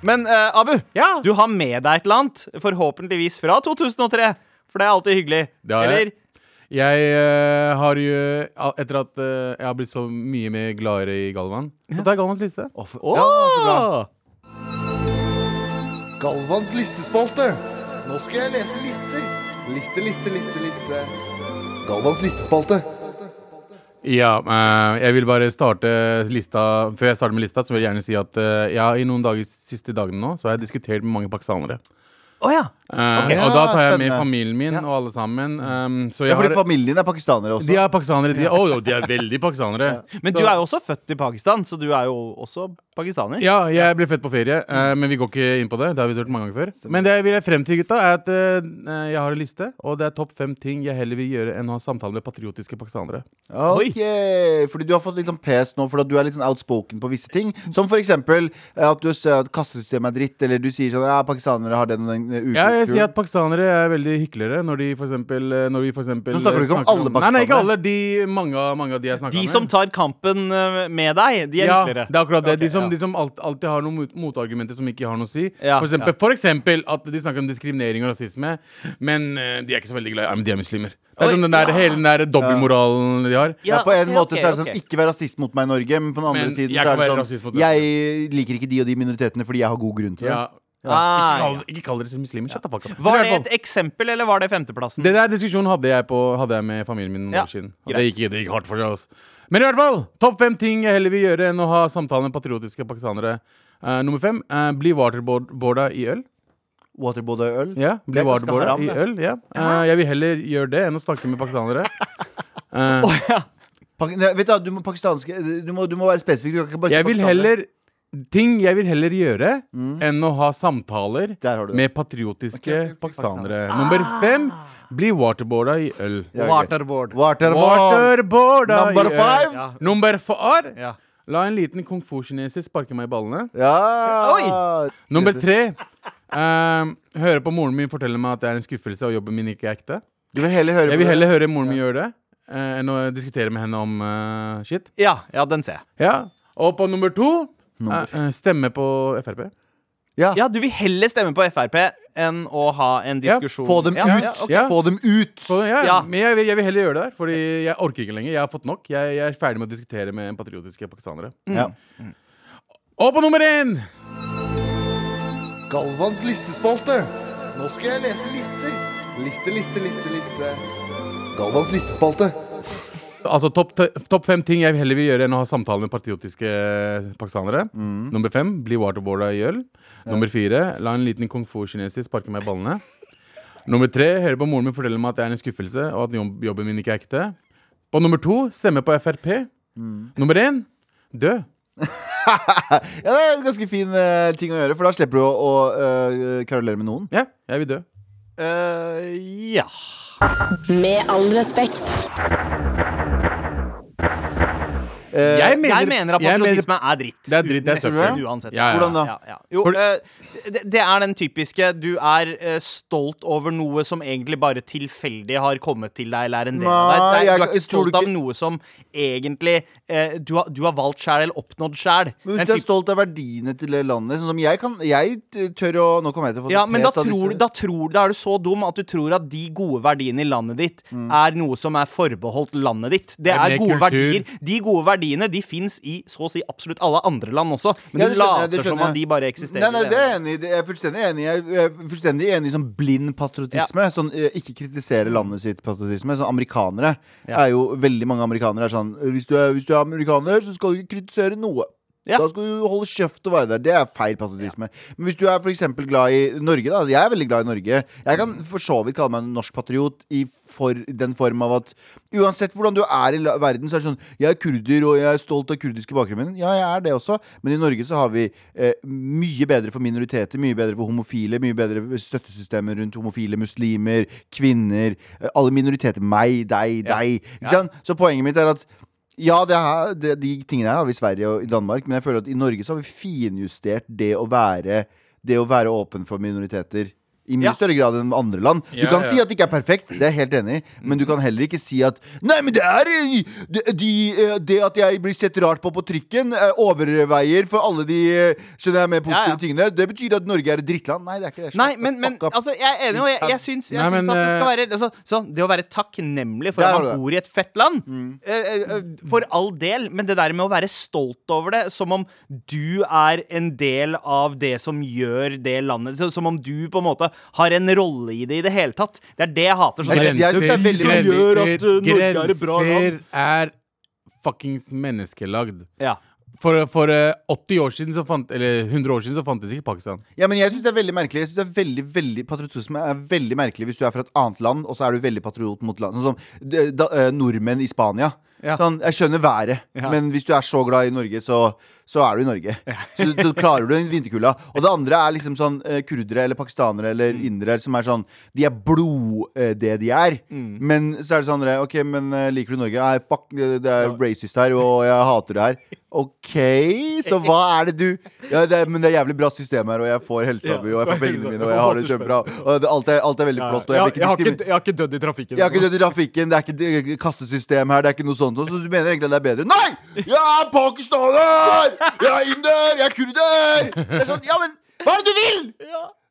Speaker 3: Men eh, Abu,
Speaker 4: Ja.
Speaker 3: du har med deg et eller annet, forhåpentligvis fra 2003. For det er alltid hyggelig.
Speaker 4: Det har jeg.
Speaker 3: Eller?
Speaker 4: Jeg eh, har jo Etter at eh, jeg har blitt så mye mer gladere i Galvan Så da er Galvans liste.
Speaker 2: Å, for-
Speaker 3: Åh!
Speaker 2: Ja, så bra.
Speaker 5: Galvans listespalte. Nå skal jeg lese lister. Liste, liste, liste, liste. Galvans listespalte.
Speaker 4: Ja, eh, jeg vil bare starte lista Før jeg starter med lista, så vil jeg gjerne si at eh, jeg har i noen dager, siste dagene nå Så har jeg diskutert med mange pakistanere.
Speaker 3: Å ja.
Speaker 4: Eh,
Speaker 2: Ok.
Speaker 4: og da tar jeg med
Speaker 2: Spennende. Mm.
Speaker 4: familien min og alle sammen. ehm, så jeg
Speaker 2: Ja, fordi
Speaker 4: har,
Speaker 2: familien din er pakistanere også.
Speaker 4: de er pakistanere. De, oh, de er veldig pakistanere.
Speaker 3: Men
Speaker 4: Så-
Speaker 3: du er jo også født i Pakistan, så du er jo også pakistaner.
Speaker 4: Ja, jeg ble født på ferie, eh,
Speaker 2: Mm.
Speaker 4: men vi går ikke inn på det. Det har vi hørt mange ganger før. Men det jeg vil frem til, gutta, er at eh, jeg har en liste, og det er topp fem ting jeg heller vil gjøre enn å ha samtale med patriotiske pakistanere.
Speaker 2: Ok, fordi du har fått litt sånn pes nå Fordi at du er litt sånn outspoken på visse ting Som for eksempel eh, at du ser at kastesystemet er dritt Eller du sier sånn, ja, pakistanere har den og den ukulturen
Speaker 4: Ja, jeg sier at pakistanere er veldig hyklere når de for eksempel, eh, når vi for eksempel
Speaker 2: Nå snakker du ikke om alle
Speaker 4: Nei, nei, ikke
Speaker 2: pakistanere.
Speaker 4: alle. De, mange, av- mange av de jeg snakker
Speaker 3: De
Speaker 4: med.
Speaker 3: som tar kampen eh, med deg, de er
Speaker 4: ja,
Speaker 3: hyggeligere.
Speaker 4: det er akkurat det.
Speaker 3: Ok,
Speaker 4: de som,
Speaker 3: ja.
Speaker 4: de som alt, alltid har noen mot, motargumenter som ikke har noe å si.
Speaker 3: Ja,
Speaker 4: for, eksempel,
Speaker 3: ja.
Speaker 4: for eksempel at de snakker om diskriminering og rasisme, men eh, de er ikke så veldig glad i ja, men De er muslimer. Det
Speaker 3: Oi,
Speaker 4: er som den der, Hele den der dobbeltmoralen de har.
Speaker 2: Ja, på en
Speaker 3: ok,
Speaker 2: måte så er det
Speaker 3: ok,
Speaker 2: sånn
Speaker 3: ok.
Speaker 2: Ikke vær rasist mot meg i Norge Men på den andre
Speaker 4: Men
Speaker 2: siden
Speaker 4: jeg
Speaker 2: så
Speaker 4: kan være
Speaker 2: er det
Speaker 4: rasist mot
Speaker 2: sånn
Speaker 4: deg.
Speaker 2: Jeg liker ikke de og de minoritetene Fordi jeg har god grunn til det
Speaker 4: Ja. Ikke,
Speaker 3: Ah,
Speaker 4: kall, ikke kall dere muslimer. Shut the fuck up.
Speaker 3: Var
Speaker 4: Men i
Speaker 3: det
Speaker 4: hvert
Speaker 3: et
Speaker 4: fall,
Speaker 3: eksempel, eller var det femteplassen?
Speaker 4: det der diskusjonen hadde jeg, på, hadde jeg med familien min noen
Speaker 3: Ja,
Speaker 4: år siden. Og det
Speaker 3: greit.
Speaker 4: gikk, det gikk hardt for seg. ass. Men i hvert fall, topp fem ting jeg heller vil gjøre enn å ha samtale med patriotiske pakistanere. Eh, nummer fem eh, bli waterboarda i øl.
Speaker 2: Waterboard og øl
Speaker 4: Ja,
Speaker 2: Det
Speaker 4: bli
Speaker 2: er ganske
Speaker 4: waterboarda
Speaker 2: haram,
Speaker 4: i
Speaker 2: det.
Speaker 4: øl. Ja. Eh, jeg vil heller gjøre det enn å snakke med pakistanere. Eh,
Speaker 2: Pak- Nei, vet du, hva, du må pakistanske du må, du må være spesifikk. Du kan ikke bare si
Speaker 4: Jeg vil
Speaker 2: pakistanere. Mm.
Speaker 4: heller Ting jeg vil heller gjøre enn å ha samtaler
Speaker 2: Der har du det.
Speaker 4: med patriotiske
Speaker 2: Ok, Ah. ok, ok,
Speaker 4: pakistanere. Nummer fem bli waterboarda i øl.
Speaker 2: Ja, ok.
Speaker 3: Waterboard.
Speaker 2: Waterboard.
Speaker 4: Waterboarda
Speaker 2: Number
Speaker 4: i øl.
Speaker 2: five.
Speaker 3: Ja.
Speaker 4: Nummer far.
Speaker 3: Ja.
Speaker 4: La en liten kung fu-kineser sparke meg i ballene.
Speaker 2: Ja.
Speaker 3: Oi.
Speaker 4: Nummer tre ehm, høre på moren min fortelle meg at det er en skuffelse og jobben min ikke er ekte.
Speaker 2: Du vil heller høre
Speaker 4: Jeg
Speaker 2: på
Speaker 4: vil
Speaker 2: det.
Speaker 4: heller høre moren min gjøre det eh, enn å diskutere med henne om eh, shit.
Speaker 3: Ja, ja, den ser jeg.
Speaker 4: Ja. Og på nummer to eh, eh, stemme på Frp.
Speaker 2: Ja.
Speaker 3: Ja, du vil heller stemme på Frp enn å ha en
Speaker 4: Ja,
Speaker 3: diskusjon.
Speaker 2: Få dem
Speaker 3: ja,
Speaker 2: ut.
Speaker 3: Ja, ok.
Speaker 4: Ja.
Speaker 2: Få dem ut.
Speaker 4: Så, ja, ja.
Speaker 3: Ja.
Speaker 4: Men jeg, vil- jeg vil heller gjøre det der, Fordi jeg orker ikke lenger. Jeg har fått nok. Jeg, jeg er ferdig med å diskutere med patriotiske pakistanere.
Speaker 2: Ja.
Speaker 4: Og på nummer én!
Speaker 5: Galvans listespalte. Nå skal jeg lese lister. Liste, liste, liste, liste. Galvans listespalte.
Speaker 4: Altså topp te- topp fem ting jeg heller vil gjøre enn å ha samtale med patriotiske eh, pakistanere. Nummer fem bli waterboarda i øl. Nummer fire la en liten kung fu-kineser sparke meg i ballene. Nummer tre høre på moren min fortelle meg at jeg er en skuffelse, og at jobb- jobben min ikke er ekte. På nummer to stemme på Frp. Nummer én dø.
Speaker 2: ja, det er en ganske fin eh, ting å gjøre, for da slipper du å, å eh, karolere med noen.
Speaker 4: Ja, jeg vil dø.
Speaker 3: Eh, ja.
Speaker 1: Med all respekt.
Speaker 2: Eh,
Speaker 4: Jeg
Speaker 3: Jeg mener at
Speaker 4: jeg mener-
Speaker 3: patriotisme er dritt.
Speaker 4: Det er dritt, det er
Speaker 3: Nesten
Speaker 4: søppel.
Speaker 3: Uansett.
Speaker 4: Ja, ja, ja.
Speaker 2: Hvordan da?
Speaker 3: Ja, ja. Jo,
Speaker 4: For-
Speaker 3: eh, det, det er den typiske du er eh, stolt over noe som egentlig bare tilfeldig har kommet til deg eller er en del av
Speaker 2: Nei,
Speaker 3: deg. Det er- Du
Speaker 2: jeg-
Speaker 3: er ikke
Speaker 2: tror du
Speaker 3: stolt av
Speaker 2: ikke-
Speaker 3: noe som egentlig eh, du, har, du har valgt sjæl eller oppnådd sjæl.
Speaker 2: Men hvis du er stolt av verdiene til det landet Sånn som jeg kan Jeg tør å Nå kommer jeg til å få
Speaker 3: Ja,
Speaker 2: sånn
Speaker 3: men da
Speaker 2: pes av
Speaker 3: tror,
Speaker 2: disse-
Speaker 3: da tror Da er du så dum at du tror at de gode verdiene i landet ditt er noe som er forbeholdt landet ditt. Det
Speaker 4: Ja,
Speaker 3: er
Speaker 4: det er
Speaker 3: gode
Speaker 4: kultur.
Speaker 3: verdier. De gode verdiene de fins i så å si absolutt alle andre land også, men
Speaker 2: Ja,
Speaker 3: de
Speaker 2: det skjønner jeg, det
Speaker 3: later som
Speaker 2: skjønner
Speaker 3: om de
Speaker 2: jeg.
Speaker 3: bare eksisterer.
Speaker 2: Nei, nei,
Speaker 3: i
Speaker 2: det er
Speaker 3: ene.
Speaker 2: jeg enig i. Det- Jeg er fullstendig enig. Jeg er fullstendig enig i sånn blind patriotisme. Sånn eh, ikke kritisere landet sitt patriotisme. Sånn amerikanere
Speaker 3: Ja.
Speaker 2: er jo Veldig mange amerikanere er sånn eh, Hvis du er, hvis du er amerikaner, så skal du ikke kritisere noe.
Speaker 3: Ja.
Speaker 2: Da skal du holde kjeft og være der. Det er feil patriotisme. Men hvis du er for eksempel glad i Norge, da. Jeg er veldig glad i Norge. Jeg kan for så vidt kalle meg en norsk patriot i for, den form av at uansett hvordan du er i la- verden, så er det sånn Jeg er kurder, og jeg er stolt av kurdiske bakgrunnen min. Ja, jeg er det også, men i Norge så har vi eh, mye bedre for minoriteter, mye bedre for homofile, mye bedre støttesystemer rundt homofile, muslimer, kvinner, eh, alle minoriteter. Meg, deg, deg. Ikke sant? Så poenget mitt er at ja, det er, det, de tingene her har vi i Sverige og i Danmark, men jeg føler at i Norge så har vi finjustert det å være, det å være åpen for minoriteter. I mye
Speaker 3: Ja.
Speaker 2: større grad enn andre land. Du
Speaker 4: Ja,
Speaker 2: kan
Speaker 4: ja.
Speaker 2: si at det ikke er perfekt, det er jeg helt enig i, men du
Speaker 3: Mhm.
Speaker 2: kan heller ikke si at Nei, men det er eh, de, de, eh, Det at jeg blir sett rart på på trikken, eh, overveier for alle de eh, Skjønner jeg, med positive
Speaker 3: Ja, ja.
Speaker 2: tingene. Det betyr at Norge er et drittland. Nei, det er ikke det. Shut
Speaker 3: Nei,
Speaker 2: the
Speaker 3: men, men
Speaker 2: fuck up.
Speaker 3: altså, jeg er enig, og jeg, jeg syns, jeg
Speaker 4: Nei, men,
Speaker 3: syns at det skal
Speaker 4: eh,
Speaker 3: være altså, så, Det å være takknemlig for
Speaker 2: Der har
Speaker 3: at
Speaker 2: du det. Mm.
Speaker 3: man bor i et fett land, eh, eh, for all del, men det der med å være stolt over det, som om du er en del av det som gjør det landet så, Som om du på en måte har en rolle i det i det hele tatt. Det er det jeg hater. Sånn,
Speaker 2: Jeg- jeg synes det er veldig mange-
Speaker 3: gjør at, uh, Norge er et bra land.
Speaker 4: Grenser er fuckings menneskelagd.
Speaker 3: ja.
Speaker 4: For, for eh, 80 år siden så fant, Eller 100 år siden så fantes ikke Pakistan.
Speaker 2: Ja, men jeg synes det er veldig merkelig Jeg synes det er veldig, veldig Patriotisme er veldig merkelig Hvis du er fra et annet land Og så er du veldig patriot mot land Sånn som d- da, eh, nordmenn i Spania
Speaker 4: Ja.
Speaker 2: Sånn, jeg skjønner været
Speaker 3: Ja.
Speaker 2: Men hvis du er så glad i Norge Så, så er du i Norge så, så klarer du en vinterkula Og det andre er liksom sånn eh, Kurdere eller pakistanere eller indere Som er sånn De er blod eh, det de er Men så er det sånn dere, Ok, men eh, liker du Norge? Nei, fuck, det det er racist her Og jeg hater det her Ok, så hva er det du ja, det, er- Men det er jævlig bra system her Og jeg får helsa mi Og jeg får pengene mine Og jeg har det kjempebra Og det, alt, er, alt er veldig flott Og jeg blir ikke diskriminert
Speaker 3: dødd i trafikken.
Speaker 2: jeg har ikke dødd i trafikken, det er ikke det er ikke kastesystem her. Det er ikke noe sånt noe, Så du mener egentlig at det er bedre? Nei! Jeg er pakistaner! Jeg er inder! Jeg er kurder! Det er sånn, ja, men hva er det du vil?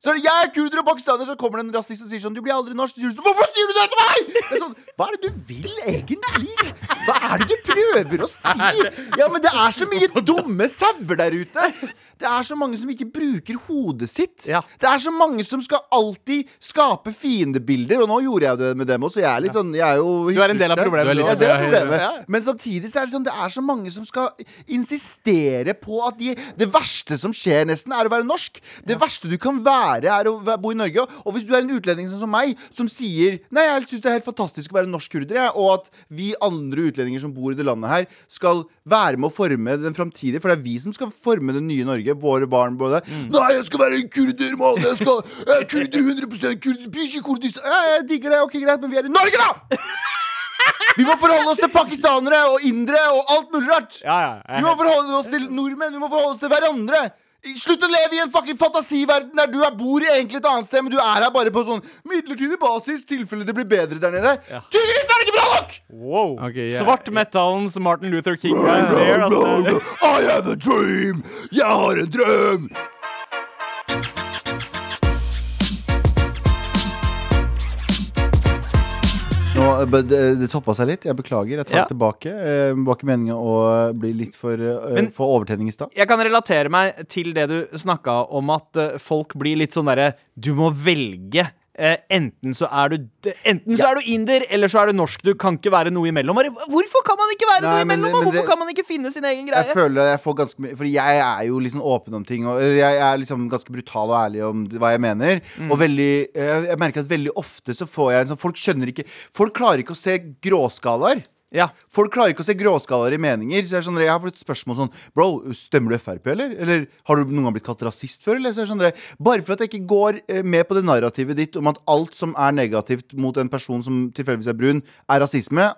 Speaker 2: Så er det, jeg er kurder og pakistaner, så kommer det en rasist og sier sånn Du blir aldri norsk. Så sier du sånn Hvorfor sier du det til meg?! Det er sånn, Hva er det du vil egentlig? Hva er det du prøver å si? Ja, men det er så mye dumme sauer der ute! Det er så mange som ikke bruker hodet sitt.
Speaker 3: Ja.
Speaker 2: Det er så mange som skal alltid skape fiendebilder, og nå gjorde jeg det med dem også. Jeg er litt sånn, jeg er jo
Speaker 3: Du er en del
Speaker 2: hyklerisk
Speaker 3: av
Speaker 2: der.
Speaker 3: problemet.
Speaker 4: Du er litt-
Speaker 2: Ja, det er problemet.
Speaker 3: Ja.
Speaker 2: Men samtidig så er det sånn Det er så mange som skal insistere på at de Det verste som skjer, nesten, er å være norsk. Det verste du kan være, er å væ- bo i Norge. Og hvis du er en utlending sånn som meg, som sier Nei, jeg syns det er helt fantastisk å være norsk kurder, jeg, og at vi andre utlendinger som bor i det landet her, skal være med å forme den framtidige For det er vi som skal forme det nye Norge. Våre barn. Både.
Speaker 3: Mm.
Speaker 2: Nei, jeg skal være en kurder, mann! Jeg skal jeg er kurder 100 kurdisk, bikkje kurdist ja, Jeg digger det, ok, greit, men vi er i Norge, da! Vi må forholde oss til pakistanere og indere og alt mulig rart.
Speaker 3: Ja, ja, jeg
Speaker 2: Vi må forholde oss til nordmenn, vi må forholde oss til hverandre. Slutt å leve i en fucking fantasiverden der du er bor egentlig et annet sted, men du er her bare på sånn midlertidig basis, tilfelle det blir bedre der nede. Tydeligvis er det ikke bra nok!
Speaker 3: Wow.
Speaker 4: Ok, jeg-
Speaker 3: Svart metallens Martin Luther King. er her, altså.
Speaker 2: I have a dream! Jeg har en drøm! Nå, eh, but, eh, det toppa seg litt. Jeg beklager. Jeg tar
Speaker 3: Ja.
Speaker 2: det tilbake. Eh, Det var ikke meninga å eh, bli litt for, eh,
Speaker 3: Men-
Speaker 2: for overtenning i stad.
Speaker 3: Jeg kan relatere meg til det du snakka om, at eh, folk blir litt sånn derre Du må velge. Eh, enten så er du d- Enten så er du inder, eller så er du norsk. Du kan ikke være noe imellom. Bare, Hvorfor kan man ikke være
Speaker 2: Nei,
Speaker 3: noe
Speaker 2: men-
Speaker 3: imellom?
Speaker 2: men
Speaker 3: og hvorfor
Speaker 2: det-
Speaker 3: kan man ikke finne sin egen greie?
Speaker 2: Jeg føler at jeg får ganske mye Fordi jeg er jo liksom åpen om ting og, Eller jeg er liksom ganske brutal og ærlig om det- hva jeg mener
Speaker 3: Mm.
Speaker 2: Og veldig eh, jeg, jeg merker at veldig ofte så får jeg en sånn Folk skjønner ikke Folk klarer ikke å se gråskaler
Speaker 3: Ja.
Speaker 2: Folk klarer ikke å se gråskaler i meninger Så jeg, er sånn, jeg har fått et spørsmål sånn Bro, stemmer du FRP eller? Eller har du noen gang blitt kalt rasist før? Eller? Så jeg er sånn, bare for at jeg ikke går eh, med på det narrativet ditt Om at alt som er negativt mot en person som tilfeldigvis er brun Er rasisme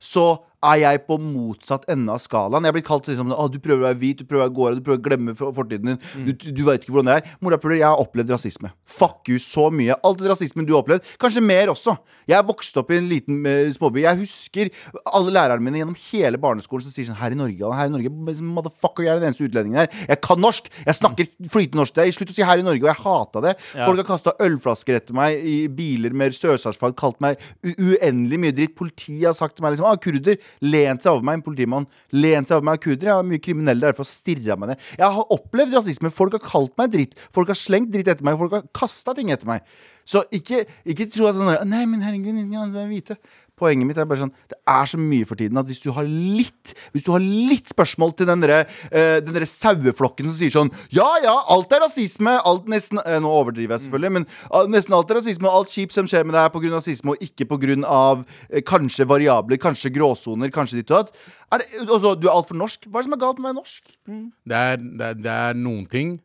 Speaker 2: Så er jeg på motsatt ende av skalaen Jeg blir kalt liksom ah, Du prøver å være hvit, du prøver å være gård Du prøver å glemme for- fortiden din Du, du vet ikke hvordan det er Morapuler, jeg har opplevd rasisme Fuck you så mye Alt det rasismen du har opplevd Kanskje mer også Jeg vokste opp i en liten eh, småby Jeg husker alle lærerne mine gjennom hele barneskolen Som sier sånn Her i Norge, Allan, her i Norge Motherfucker, jeg er den eneste utlendingen her Jeg kan norsk Jeg snakker flytende norsk Det er slutt å si her i Norge Og jeg hatet det Folk har kastet ølflasker etter meg I biler med sørsarsfag Kalt meg u- uendelig mye dritt Politiet har sagt til meg liksom Ah, kurder Lent seg over meg En politimann Lent seg over meg Kurder, jeg har mye kriminelle Derfor stirret meg ned Jeg har opplevd rasisme Folk har kalt meg dritt Folk har slengt dritt etter meg Folk har kastet ting etter meg Så ikke, ikke tro at sånn der, Nei, men herregud, ingen andre er hvite Poenget mitt er bare sånn Det er så mye for tiden at hvis du har litt Hvis du har litt spørsmål til den derre eh, Den derre saueflokken som sier sånn Ja ja, alt er rasisme, alt nesten eh, Nå overdriver jeg selvfølgelig, men ah, nesten alt er rasisme, og alt kjipt som skjer med deg er pga. rasisme, og ikke pga. Uh, kanskje variabler, kanskje gråsoner, kanskje ditt og datt. Er det- og så, Du er altfor norsk. Hva er det som er galt med å være norsk?
Speaker 4: Det er, det er, det er noen ting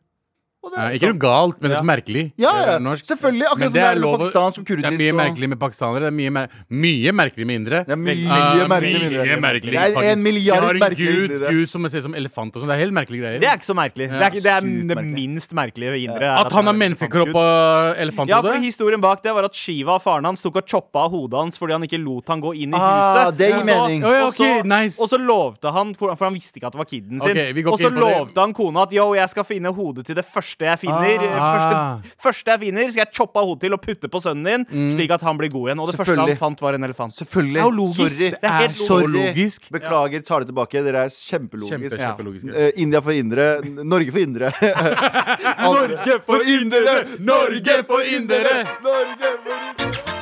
Speaker 2: Og det
Speaker 4: Nei,
Speaker 2: er-
Speaker 4: Ikke noe galt, men det er så merkelig.
Speaker 2: Ja,
Speaker 4: Det
Speaker 2: ja,
Speaker 4: er norsk.
Speaker 2: selvfølgelig, akkurat
Speaker 4: Men
Speaker 2: som det er med
Speaker 4: lov å-
Speaker 2: pakistansk og kurdisk
Speaker 4: Det er mye
Speaker 2: og-
Speaker 4: merkelig med pakistanere. Det er mye, mer, mye merkelig med indere.
Speaker 2: Det er mye
Speaker 4: Ah,
Speaker 2: merkelig med
Speaker 4: mye
Speaker 2: indere.
Speaker 4: merkelig,
Speaker 2: Det er en
Speaker 4: faktisk.
Speaker 2: milliard
Speaker 4: De har en
Speaker 2: merkelige
Speaker 4: gud,
Speaker 2: indere.
Speaker 4: gud som ser ut som elefant og sånn. Det er helt merkelige greier.
Speaker 3: Det er ikke så merkelig. Det er, ikke, det, er det
Speaker 2: supermerkelig.
Speaker 3: minst merkelige indre. er
Speaker 4: At han
Speaker 3: er
Speaker 4: har
Speaker 3: en
Speaker 4: menneskekropp
Speaker 3: elefantgud.
Speaker 4: og
Speaker 3: Ja, for
Speaker 4: elefanthode?
Speaker 3: historien bak det var at Shiva, faren hans, tok og choppa av hodet hans fordi han ikke lot han gå inn i
Speaker 2: Ah,
Speaker 3: huset.
Speaker 2: det gir
Speaker 3: Og så-
Speaker 2: mening.
Speaker 4: Å ja,
Speaker 3: og så-
Speaker 4: ok, nice.
Speaker 3: Og så lovte han, for for han visste ikke at det var kiden sin,
Speaker 4: Ok, vi går
Speaker 3: og
Speaker 4: ikke
Speaker 3: så
Speaker 4: inn på det.
Speaker 3: lovte han kona at yo, jeg skal finne hodet til det første jeg finner.
Speaker 4: Ah.
Speaker 3: Første, første jeg finner, skal jeg choppe av hodet til og putte på sønnen din, slik at han blir god igjen. Og det første han
Speaker 2: Selvfølgelig.
Speaker 3: fant, var en elefant.
Speaker 2: Selvfølgelig.
Speaker 3: Det er jo logisk.
Speaker 2: Sorry. Eh,
Speaker 3: Det er helt
Speaker 4: så
Speaker 3: logisk.
Speaker 2: Sorry.
Speaker 4: logisk.
Speaker 2: Beklager, tar det tilbake. Dere er kjempelogisk.
Speaker 4: Kjempe,
Speaker 3: Ja.
Speaker 4: kjempelogisk.
Speaker 2: Eh, India for indre, N- Norge for indre. Norge for indre!
Speaker 4: Norge for indere!
Speaker 2: Norge for indre!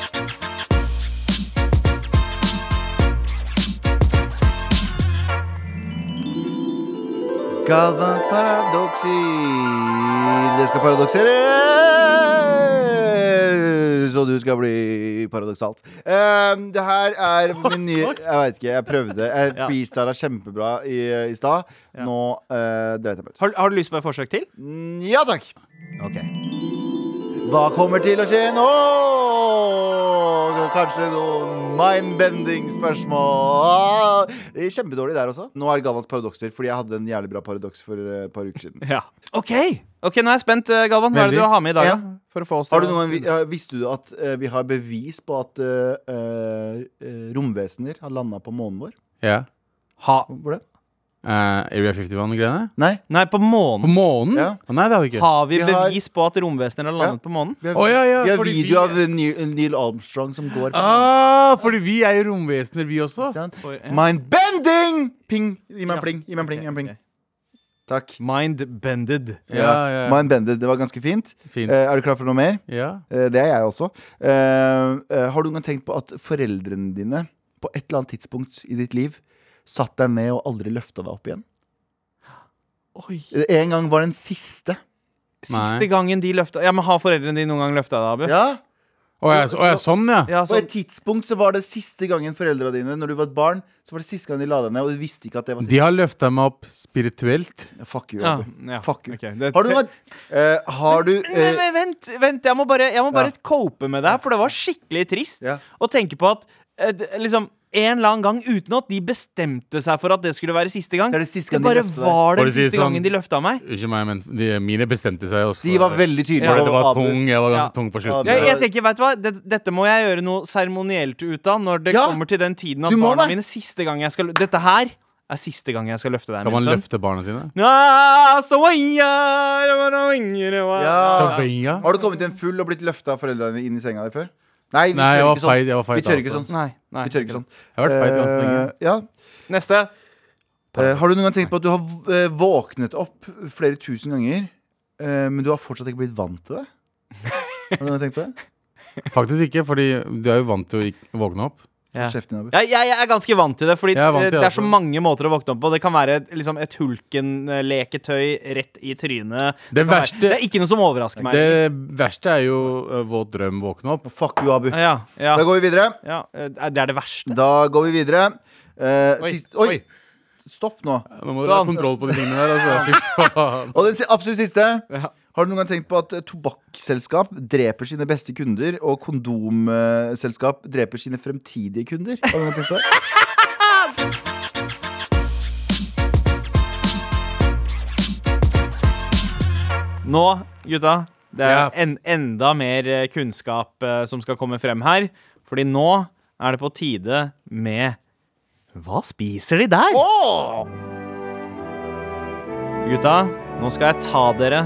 Speaker 2: Galvans paradokser. Det skal paradokseres, og du skal bli paradoksalt. Um, det her er min nye Jeg veit ikke, jeg prøvde. Jeg
Speaker 3: Ja.
Speaker 2: freestyla kjempebra i, i stad. Nå uh, dreit jeg meg ut.
Speaker 3: Har, har du lyst på et forsøk til?
Speaker 2: Mm, Ja takk. Hva kommer til å skje nå? Kanskje noen mindbending-spørsmål. Det er Kjempedårlig der også. Nå er det Galvans paradokser, fordi jeg hadde en jævlig bra paradoks for eh, et par uker siden.
Speaker 3: Ja. OK, Ok, nå er jeg spent, eh, Galvan. Hva er det
Speaker 4: Veldig.
Speaker 3: du har med i dag?
Speaker 2: Ja.
Speaker 3: da? For å få oss til
Speaker 2: Har du
Speaker 3: å-
Speaker 2: noen gang, vi- ja, visste du at eh, vi har bevis på at eh, eh, romvesener har landa på månen vår?
Speaker 4: Ja.
Speaker 3: ha.
Speaker 2: Hvor det?
Speaker 4: Eh, Area 51-greiene?
Speaker 2: Nei.
Speaker 3: Nei, på
Speaker 4: På
Speaker 3: månen.
Speaker 4: månen?
Speaker 2: Ja.
Speaker 4: Å, Nei, det har vi ikke.
Speaker 3: Har vi
Speaker 2: Vi har-
Speaker 3: bevis på at romvesener har landet på månen?
Speaker 2: Vi har,
Speaker 4: Å, ja, ja,
Speaker 2: vi har
Speaker 4: fordi
Speaker 2: video
Speaker 4: vi-
Speaker 2: av Neil, Neil Armstrong som går på
Speaker 4: Ah, fordi vi er jo romvesener, vi også.
Speaker 2: månen.
Speaker 3: Oi, ja.
Speaker 2: Mindbending! Ping! Gi meg en pling. Gi meg en pling. Gi meg en
Speaker 3: Ok,
Speaker 2: pling.
Speaker 3: ok.
Speaker 2: Takk.
Speaker 3: Mind bended.
Speaker 4: Ja, ja, ja.
Speaker 2: Mind Bended, det var ganske fint.
Speaker 4: Fint.
Speaker 2: Eh, er du klar for noe mer?
Speaker 4: ja.
Speaker 2: Eh, det er jeg også. Eh, eh, har du noen gang tenkt på at foreldrene dine på et eller annet tidspunkt i ditt liv satt deg ned og aldri løfta deg opp igjen?
Speaker 3: Oi.
Speaker 2: Eh, En gang var den siste.
Speaker 4: Nei.
Speaker 3: Siste gangen de løfta Ja, men Har foreldrene dine noen gang løfta deg, Abu?
Speaker 2: Ja,
Speaker 4: Å, ja, så- å, ja, sånn, ja.
Speaker 3: Ja,
Speaker 2: På
Speaker 3: så,
Speaker 2: et tidspunkt så var det siste gangen foreldra dine Når du var et barn, så var det siste gang de la deg ned, og du visste ikke at det var siste.
Speaker 4: De har løfta meg opp spirituelt.
Speaker 2: Ja, Fuck you.
Speaker 3: ja,
Speaker 2: Abu.
Speaker 3: ja.
Speaker 2: Fuck you.
Speaker 3: Ok, det-
Speaker 2: Har du vært eh, Har du
Speaker 3: Men,
Speaker 2: eh,
Speaker 3: men, vent, vent, jeg må bare, jeg må bare
Speaker 2: Ja.
Speaker 3: cope med det her, for det var skikkelig trist
Speaker 2: Ja.
Speaker 3: å tenke på at eh, d- liksom en eller annen gang uten at de bestemte seg for at det skulle være siste gang.
Speaker 2: Det er det siste gang de
Speaker 3: bare
Speaker 2: løfter deg.
Speaker 3: var
Speaker 4: Bare
Speaker 3: den
Speaker 4: si
Speaker 3: siste
Speaker 4: sånn-
Speaker 3: gangen de løfta meg.
Speaker 4: Ikke meg, men de, mine bestemte seg også.
Speaker 2: De
Speaker 4: for-
Speaker 2: var veldig tydelige.
Speaker 3: Ja.
Speaker 4: Fordi det var
Speaker 2: Abu.
Speaker 4: tung. Jeg var ganske
Speaker 3: Ja.
Speaker 4: tung på
Speaker 2: Ja,
Speaker 4: slutten.
Speaker 3: Jeg,
Speaker 2: det-
Speaker 3: jeg tenker, vet du hva, det, Dette må jeg gjøre noe seremonielt ut av når det
Speaker 2: Ja!
Speaker 3: kommer til den tiden at
Speaker 2: Du må
Speaker 3: barna
Speaker 2: det.
Speaker 3: mine siste gang jeg skal Dette her er siste gang jeg skal løfte deg.
Speaker 4: Skal man
Speaker 3: min sønn.
Speaker 4: løfte barna sine?
Speaker 3: Ah, so I- I wanna wing it away.
Speaker 2: Ja.
Speaker 4: Savinga?
Speaker 2: Har du kommet hjem full og blitt løfta av foreldrene dine inn i senga di før? Nei, vi
Speaker 4: Nei,
Speaker 2: tør
Speaker 4: jeg var
Speaker 2: ikke sånn.
Speaker 4: feit, jeg var feit
Speaker 2: vi tør ikke
Speaker 4: altså.
Speaker 2: sånn.
Speaker 3: Nei, nei.
Speaker 2: Vi tør ikke sånn.
Speaker 4: Jeg har vært feit ganske lenge.
Speaker 2: Eh, ja.
Speaker 3: Neste.
Speaker 2: Eh, har du noen gang tenkt på at du har eh, våknet opp flere tusen ganger, eh, men du har fortsatt ikke blitt vant til det? Har du noen gang tenkt på det?
Speaker 4: Faktisk ikke, fordi du er jo vant til å ikke våkne opp.
Speaker 3: Ja.
Speaker 2: Kjeften din, Abu.
Speaker 3: Jeg, jeg, jeg er ganske vant til det, fordi
Speaker 4: Jeg er vant
Speaker 3: det,
Speaker 4: til det
Speaker 3: det er så
Speaker 4: også.
Speaker 3: mange måter å våkne opp på. Det kan være liksom, et Hulken-leketøy rett i trynet. kan
Speaker 4: Det
Speaker 3: være-
Speaker 4: verste-
Speaker 3: det er ikke noe som overrasker meg.
Speaker 4: Det verste er jo uh, våt drøm våkne opp.
Speaker 2: Fuck you, Abu.
Speaker 3: Ja, ja,
Speaker 2: Da går vi videre.
Speaker 3: ja, eh, det er det verste.
Speaker 2: Da går vi videre. Eh,
Speaker 3: Oi,
Speaker 2: sist, oi, stopp nå.
Speaker 4: Nå må du ha
Speaker 3: Sånn.
Speaker 4: kontroll på de tingene der. Altså. Fy faen.
Speaker 2: Og den si- absolutt siste.
Speaker 3: Ja.
Speaker 2: Har du noen gang tenkt på at eh, tobakksselskap dreper sine beste kunder, og kondomselskap dreper sine fremtidige kunder? Har du noen gang tenkt på det?
Speaker 3: Nå, gutta, det er
Speaker 4: Ja.
Speaker 3: en, enda mer eh, kunnskap eh, som skal komme frem her. Fordi nå er det på tide med Hva spiser de der? Gutta, nå skal jeg ta dere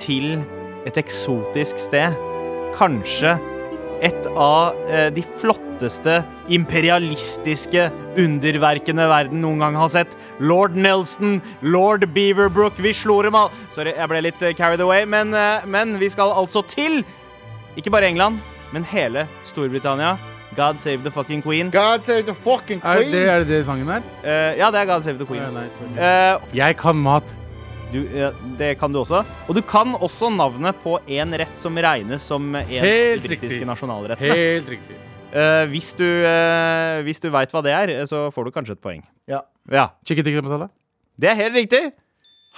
Speaker 3: til et eksotisk sted. Kanskje et av eh, de flotteste imperialistiske underverkene verden noen gang har sett. Lord Nelson, lord Beaverbrook, vi slo dem all... Sorry, jeg ble litt eh, carried away, men, eh, men vi skal altså til ikke bare England, men hele Storbritannia. God save the fucking queen.
Speaker 2: God save the fucking
Speaker 4: Er det,
Speaker 2: queen!
Speaker 4: er det det sangen er?
Speaker 3: Eh, ja, det er God save the
Speaker 4: Ja,
Speaker 3: queen.
Speaker 4: nei, sorry.
Speaker 3: Eh,
Speaker 4: Jeg kan mat.
Speaker 3: Du, ja, det kan du også. Og du kan også navnet på en rett som regnes som en av
Speaker 4: Helt
Speaker 3: de britiske
Speaker 4: riktig.
Speaker 3: nasjonalrettene.
Speaker 4: Helt riktig.
Speaker 3: Eh, hvis du, uh, hvis du veit hva det er, eh, så får du kanskje et poeng.
Speaker 2: Ja.
Speaker 3: Ja,
Speaker 4: Chicken tikka masala.
Speaker 3: Det er helt riktig!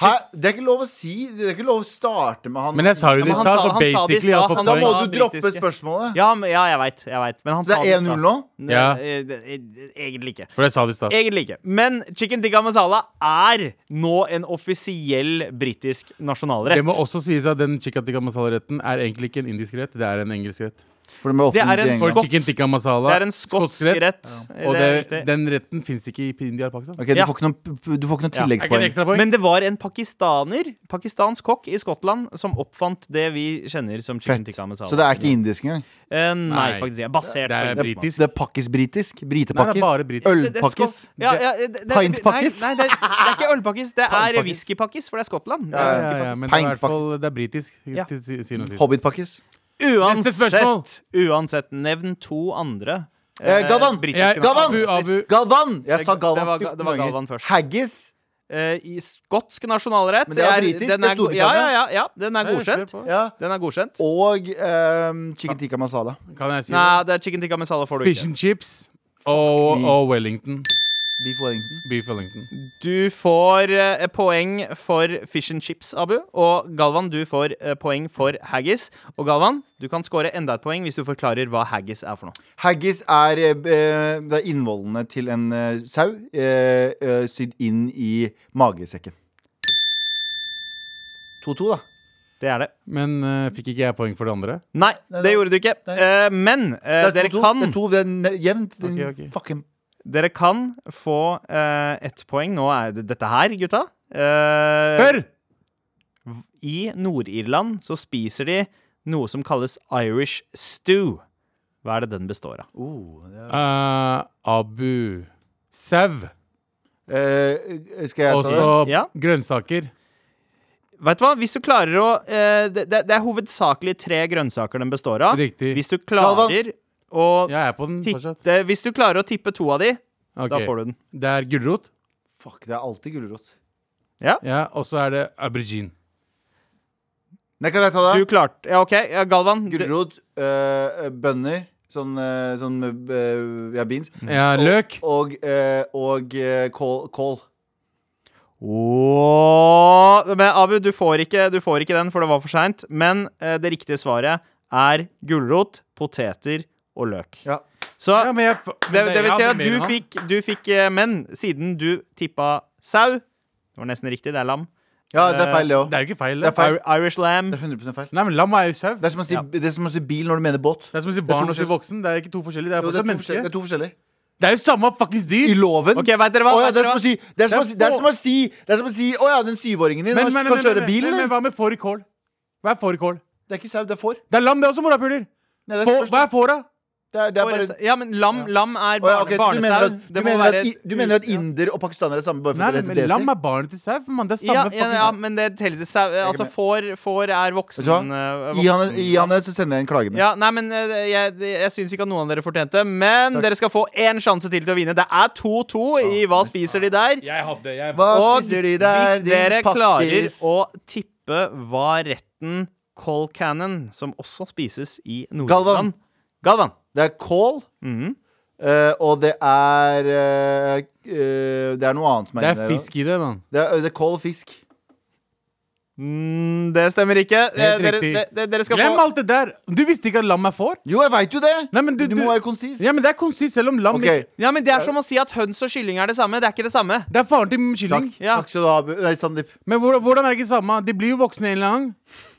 Speaker 2: Hæ? Det er ikke lov å si. Det er ikke lov å starte med han.
Speaker 4: Men jeg sa jo det i
Speaker 3: han
Speaker 4: stad,
Speaker 3: sa-
Speaker 4: så
Speaker 3: han sa det i
Speaker 4: basically
Speaker 3: stad,
Speaker 4: jeg har fått
Speaker 3: han
Speaker 2: da
Speaker 3: sa-
Speaker 2: må
Speaker 4: poeng.
Speaker 3: Ja,
Speaker 2: du droppe
Speaker 3: britiske.
Speaker 2: spørsmålet.
Speaker 3: Ja, men- ja jeg veit. Jeg vet. Men han
Speaker 2: Så
Speaker 3: sa
Speaker 2: det er
Speaker 3: i
Speaker 2: 1-0
Speaker 3: stad.
Speaker 2: nå?
Speaker 3: Ne-
Speaker 4: Ja.
Speaker 3: eh, det- eh, Egentlig ikke.
Speaker 4: For jeg sa det i stad.
Speaker 3: Egentlig ikke. Men chicken tikka masala er nå en offisiell britisk nasjonalrett.
Speaker 4: Det må også sies at den chicken tikka masala-retten er egentlig ikke en indisk rett, det er en engelsk rett.
Speaker 2: For det,
Speaker 3: Det er en
Speaker 4: For
Speaker 3: Skotsk-
Speaker 4: chicken tikka masala
Speaker 3: Det er en skotsk rett.
Speaker 4: Og
Speaker 3: Det er
Speaker 4: det,
Speaker 3: riktig.
Speaker 4: den retten fins ikke i India eller Pakistan.
Speaker 2: Ok, du,
Speaker 3: Ja.
Speaker 2: får ikke noen, du får ikke noen
Speaker 3: Ja.
Speaker 4: Er ikke
Speaker 2: tilleggspoeng.
Speaker 4: det ekstrapoeng?
Speaker 3: Men det var en pakistaner, pakistansk kokk i Skottland, som oppfant det vi kjenner som chicken
Speaker 2: Fett.
Speaker 3: tikka masala.
Speaker 2: Så det er ikke indisk engang.
Speaker 3: Eh, nei,
Speaker 4: Nei.
Speaker 3: faktisk ikke. Basert
Speaker 4: Det er
Speaker 3: på
Speaker 4: britisk.
Speaker 2: Det er pakkis-britisk.
Speaker 4: Nei, det
Speaker 2: Britepakkis.
Speaker 4: er bare britisk.
Speaker 3: Det- det er
Speaker 2: Ølpakkis.
Speaker 3: skott- Ja, ja, det- det-
Speaker 2: Pintpakkis?
Speaker 3: Nei, nei det, er, det er ikke ølpakkis. Det er
Speaker 2: Pintpakkis.
Speaker 3: whiskypakkis, for det er Skottland. Det er
Speaker 4: ja, ja,
Speaker 3: whiskypakkis.
Speaker 4: ja, men det er i hvert
Speaker 2: Pint,
Speaker 4: fall det er britisk.
Speaker 3: Ja.
Speaker 4: Til, si- syvende og sist.
Speaker 2: Hobbitpakkis.
Speaker 4: Neste spørsmål.
Speaker 3: Uansett, uansett, nevn to andre
Speaker 2: Eh, Galvan.
Speaker 3: britiske
Speaker 4: Jeg,
Speaker 2: Galvan!
Speaker 4: Abu, Abu,
Speaker 2: Galvan! Jeg sa
Speaker 3: Det- det
Speaker 2: Galvan
Speaker 3: var-
Speaker 2: 14
Speaker 3: det var
Speaker 2: ganger.
Speaker 3: Galvan først.
Speaker 2: Haggis.
Speaker 3: eh, i skotsk nasjonalrett.
Speaker 2: Men det er
Speaker 3: Jeg
Speaker 2: britisk,
Speaker 3: den
Speaker 2: det er
Speaker 3: go- ja, ja,
Speaker 2: Storbritannia.
Speaker 3: ja, ja, den er
Speaker 4: Nei, jeg
Speaker 3: godkjent.
Speaker 4: slipper på.
Speaker 2: Ja.
Speaker 3: Den er godkjent.
Speaker 2: Og ehm, chicken tikka masala.
Speaker 4: Kan jeg si det?
Speaker 3: Nei, det er chicken tikka masala får du
Speaker 4: Fish
Speaker 3: ikke.
Speaker 4: and chips og,
Speaker 2: me.
Speaker 4: og Wellington.
Speaker 2: Beef Wellington.
Speaker 4: Beef Wellington.
Speaker 3: Du får eh, poeng for fish and chips, Abu. Og Galvan, du får eh, poeng for haggis. Og Galvan, du kan score enda et poeng hvis du forklarer hva haggis er for noe.
Speaker 2: Haggis er, eh, det er innvollene til en eh, sau eh, eh, sydd inn i magesekken. 2-2, da.
Speaker 4: Eh,
Speaker 3: Det er det.
Speaker 4: Men eh, fikk ikke jeg poeng for det andre?
Speaker 3: Nei,
Speaker 2: da-
Speaker 3: det gjorde du ikke.
Speaker 2: nei.
Speaker 3: Eh, men eh,
Speaker 2: Det er
Speaker 3: dere,
Speaker 2: 2-2.
Speaker 3: kan,
Speaker 2: Det er to, det er ne- jevnt. Din
Speaker 4: Ok, ok.
Speaker 2: fucking
Speaker 3: dere kan få eh, ett poeng. Nå er det dette her, gutta. Eh,
Speaker 4: Hør!
Speaker 3: I Nord-Irland så spiser de noe som kalles Irish stew. Hva er det den består av?
Speaker 2: oh, det er-
Speaker 4: Eh, Abu. Sau.
Speaker 2: Eh, Skal jeg
Speaker 4: Og
Speaker 2: eh, ta det?
Speaker 4: så
Speaker 3: Ja.
Speaker 4: grønnsaker.
Speaker 3: Vet du hva? Hvis du klarer å eh, det, det det er hovedsakelig tre grønnsaker den består av.
Speaker 4: Riktig.
Speaker 3: Hvis du klarer å
Speaker 4: Jeg er på den fortsatt.
Speaker 3: tippe Hvis du klarer å tippe to av de, da
Speaker 4: Ok.
Speaker 3: får du den.
Speaker 4: Det er gulrot.
Speaker 2: Fuck, det er alltid gulrot.
Speaker 4: Ja, og så er det aubergine.
Speaker 2: Nei, kan jeg ta
Speaker 3: Du
Speaker 2: det?
Speaker 3: klarte Ja, OK, ja, Galvan. du-
Speaker 2: Gulrot, øh, bønner, sånn, øh, sånn øh, ja, beans,
Speaker 4: Ja, løk.
Speaker 2: og, øh, og øh, kål. kål.
Speaker 3: Åh, men Abu, du får, ikke, du får ikke den, for det var for seint. Men eh, det riktige svaret er gulrot, poteter og løk.
Speaker 2: Ja.
Speaker 3: Så
Speaker 4: Ja, men jeg, f-
Speaker 3: det,
Speaker 4: men
Speaker 3: det
Speaker 4: jeg
Speaker 3: betyr
Speaker 4: hadde
Speaker 3: at
Speaker 4: mer
Speaker 3: du
Speaker 4: enn han.
Speaker 3: fikk, du fikk eh, Men siden du tippa sau Det var nesten riktig, det er lam.
Speaker 2: ja, det er feil, det
Speaker 4: Eh, Det
Speaker 2: òg.
Speaker 4: er jo ikke feil.
Speaker 2: Det er feil.
Speaker 3: Ir- Irish lamb.
Speaker 2: Det er 100 feil.
Speaker 4: Nei, men lam er jo sau.
Speaker 2: Det er, som å si,
Speaker 3: Ja.
Speaker 2: det er som å si bil når du mener båt.
Speaker 4: Det er som å si
Speaker 2: to
Speaker 4: barn og si
Speaker 2: forskjellige-
Speaker 4: voksen. Det er ikke to forskjellige. Det er
Speaker 2: Jo, det, er
Speaker 4: fortsatt
Speaker 2: to forskjell-
Speaker 4: menneske.
Speaker 2: det er to forskjellige.
Speaker 4: Det er jo samme fuckings
Speaker 2: I
Speaker 4: dyr.
Speaker 2: loven?
Speaker 3: Ok, vet dere hva?
Speaker 2: Å ja,
Speaker 3: Vet
Speaker 2: det er
Speaker 3: dere
Speaker 2: som å si Det er som å si, det er
Speaker 4: Det er
Speaker 2: som å si, det er som å si Å ja, den syvåringen din
Speaker 4: Men,
Speaker 2: har-
Speaker 4: men,
Speaker 2: kan
Speaker 4: men,
Speaker 2: kjøre
Speaker 4: men,
Speaker 2: bil,
Speaker 4: men, men
Speaker 2: eller?
Speaker 4: hva med fårikål? Hva er fårikål?
Speaker 2: Det er ikke sau, det er får.
Speaker 4: Det er lam, det også, morapuler.
Speaker 2: Nei, det er
Speaker 4: Få-
Speaker 2: spørsmål.
Speaker 4: Hva er fåra?
Speaker 2: Det er, det er bare
Speaker 3: Ja, men lam, lam
Speaker 2: Å
Speaker 3: er
Speaker 2: ja,
Speaker 3: barne,
Speaker 2: ok, så du mener
Speaker 3: barnesau.
Speaker 2: at, du
Speaker 3: Det må
Speaker 2: mener
Speaker 3: være
Speaker 2: at, i-
Speaker 3: et-
Speaker 2: du mener at inder og pakistanere er samme bare
Speaker 4: Nei,
Speaker 2: fordi det
Speaker 4: men
Speaker 2: heter
Speaker 4: lam
Speaker 2: desi?
Speaker 4: er barnet til sau. for mann, Det er
Speaker 3: ja,
Speaker 4: samme
Speaker 3: ja,
Speaker 4: fucking
Speaker 3: ja,
Speaker 4: sau.
Speaker 3: men det telles sau. Altså, får, får
Speaker 2: Vet
Speaker 3: er voksen.
Speaker 2: du hva?
Speaker 3: eh,
Speaker 2: Gi han,
Speaker 3: voksen-
Speaker 2: gi han det, så sender jeg en klage med.
Speaker 3: Ja, nei, men eh, jeg, jeg syns ikke at noen av dere fortjente, men dere skal få én sjanse til til å vinne. Det er 2-2 i Hva spiser de der?
Speaker 4: Jeg hadde jeg...
Speaker 2: Hva
Speaker 3: Og
Speaker 2: spiser de der,
Speaker 3: hvis dere
Speaker 2: din
Speaker 3: klarer
Speaker 2: pakkis?
Speaker 3: å tippe hva retten Col Cannon, som også spises i Nord-Irland
Speaker 2: Galvan.
Speaker 3: Galvan.
Speaker 2: Det er kål,
Speaker 4: Mhm.
Speaker 2: eh, og det er eh, eh, Det er noe annet som er
Speaker 4: Det er
Speaker 2: inne der, da.
Speaker 4: fisk i det, mann.
Speaker 2: Det er, eh, det er kål og fisk.
Speaker 3: Mm, det stemmer ikke. Eh, Dere,
Speaker 4: riktig.
Speaker 3: de- de- dere skal
Speaker 4: Glem
Speaker 3: få
Speaker 4: alt det der. Du visste ikke at lam er får?
Speaker 2: Jo, jeg veit jo det!
Speaker 4: Nei, men
Speaker 2: må
Speaker 4: du- du-
Speaker 2: være konsis.
Speaker 4: Ja, men det er konsist, selv om lam
Speaker 2: Ok,
Speaker 4: ikke
Speaker 3: Ja, men Det er som å si at høns og kylling er det samme. Det er ikke det samme.
Speaker 4: Det er faren til kylling.
Speaker 2: takk.
Speaker 3: Ja.
Speaker 2: Takk skal du ha, Bu- Nei, Sandeep.
Speaker 4: Men hvordan, hvordan er det ikke samme? De blir jo voksne en eller annen gang.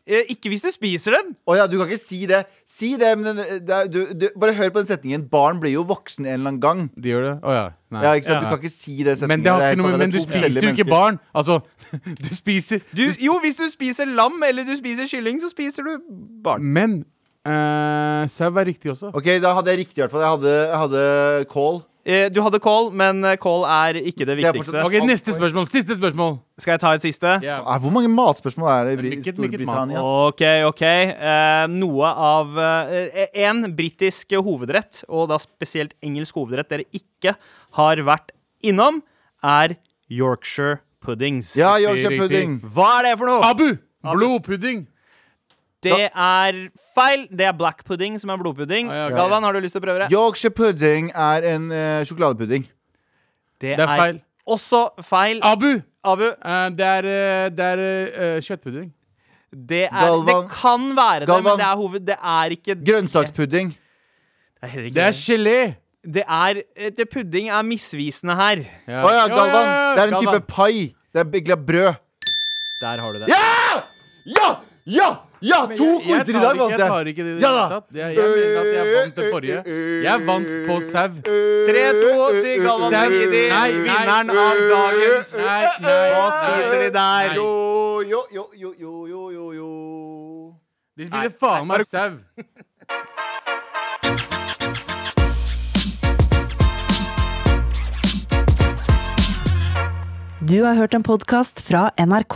Speaker 3: Eh, Ikke hvis du spiser dem.
Speaker 2: Å ja, du kan ikke si det. Si det, men den- eh, det er, du, du, Bare hør på den setningen. Barn blir jo voksen en eller annen gang.
Speaker 4: De gjør det? Å ja. Nei.
Speaker 2: Ja, ikke sant? Du
Speaker 4: Ja.
Speaker 2: kan ikke si det setningen.
Speaker 4: Men, det har
Speaker 2: er
Speaker 4: ikke noe,
Speaker 2: helt
Speaker 4: med-
Speaker 2: klart,
Speaker 4: men du
Speaker 2: det er to
Speaker 4: spiser
Speaker 2: forskjellige
Speaker 4: jo
Speaker 2: mennesker.
Speaker 4: ikke barn. Altså, du spiser
Speaker 3: Du, jo, hvis du spiser lam eller du spiser kylling, så spiser du barn.
Speaker 4: Men eh, sau er riktig også.
Speaker 2: Ok, da hadde jeg riktig i hvert fall. Jeg hadde, jeg hadde kål.
Speaker 3: Eh, Du hadde kål, men eh, kål er ikke det
Speaker 2: Det er
Speaker 3: viktigste.
Speaker 2: fortsatt-
Speaker 4: Ok, Neste spørsmål. Siste spørsmål.
Speaker 3: Skal jeg ta et siste?
Speaker 2: Eh, Hvor mange matspørsmål er det i Bri-
Speaker 4: Mykket, mykket mat.
Speaker 2: Storbritannia? ass?
Speaker 3: OK, OK. Eh, noe av Én britisk hovedrett, og da spesielt engelsk hovedrett, dere ikke har vært innom, er Yorkshire puddings.
Speaker 2: Ja, Yorkshire
Speaker 4: Riktig,
Speaker 2: pudding.
Speaker 3: Hva er det for noe?
Speaker 4: Abu! Blodpudding.
Speaker 3: Det er feil. Det er black pudding som er blodpudding.
Speaker 4: Ah, ja, ok.
Speaker 3: Galvan, har du lyst til å prøve det?
Speaker 2: Yorkshire pudding er en eh, sjokoladepudding.
Speaker 3: Det
Speaker 4: er feil.
Speaker 3: Også feil.
Speaker 4: Abu!
Speaker 3: Abu,
Speaker 4: eh, det er, eh, det er eh, kjøttpudding.
Speaker 3: det, er, det
Speaker 2: Galvan.
Speaker 3: kan være det,
Speaker 2: Galvan.
Speaker 3: men det er, hoved, det er ikke
Speaker 2: Grønnsakspudding.
Speaker 3: Det er heller ikke
Speaker 4: Det er gelé.
Speaker 3: det er eh, det Pudding er misvisende her.
Speaker 4: Å
Speaker 2: Å ja, Galvan. Det er en
Speaker 3: Galvan.
Speaker 2: type pai. Det er begla brød.
Speaker 3: Der har du det.
Speaker 2: Ja! Ja! Ja! To
Speaker 4: jeg,
Speaker 2: quizer i dag, vant
Speaker 4: jeg. tar ikke det i det
Speaker 2: Ja da.
Speaker 4: hele tatt. Jeg, jeg mener at jeg vant det forrige. Jeg vant på sau.
Speaker 3: 3-2 til Galvan
Speaker 4: Nei,
Speaker 3: Gidi,
Speaker 4: nei,
Speaker 3: vinneren av dagens
Speaker 4: Nei, nei,
Speaker 3: Hva spiser de der?
Speaker 4: Nei.
Speaker 2: Jo, jo, jo, jo, jo, jo, jo, jo.
Speaker 4: De spiser faen meg sau.
Speaker 6: Du har hørt en podkast fra NRK.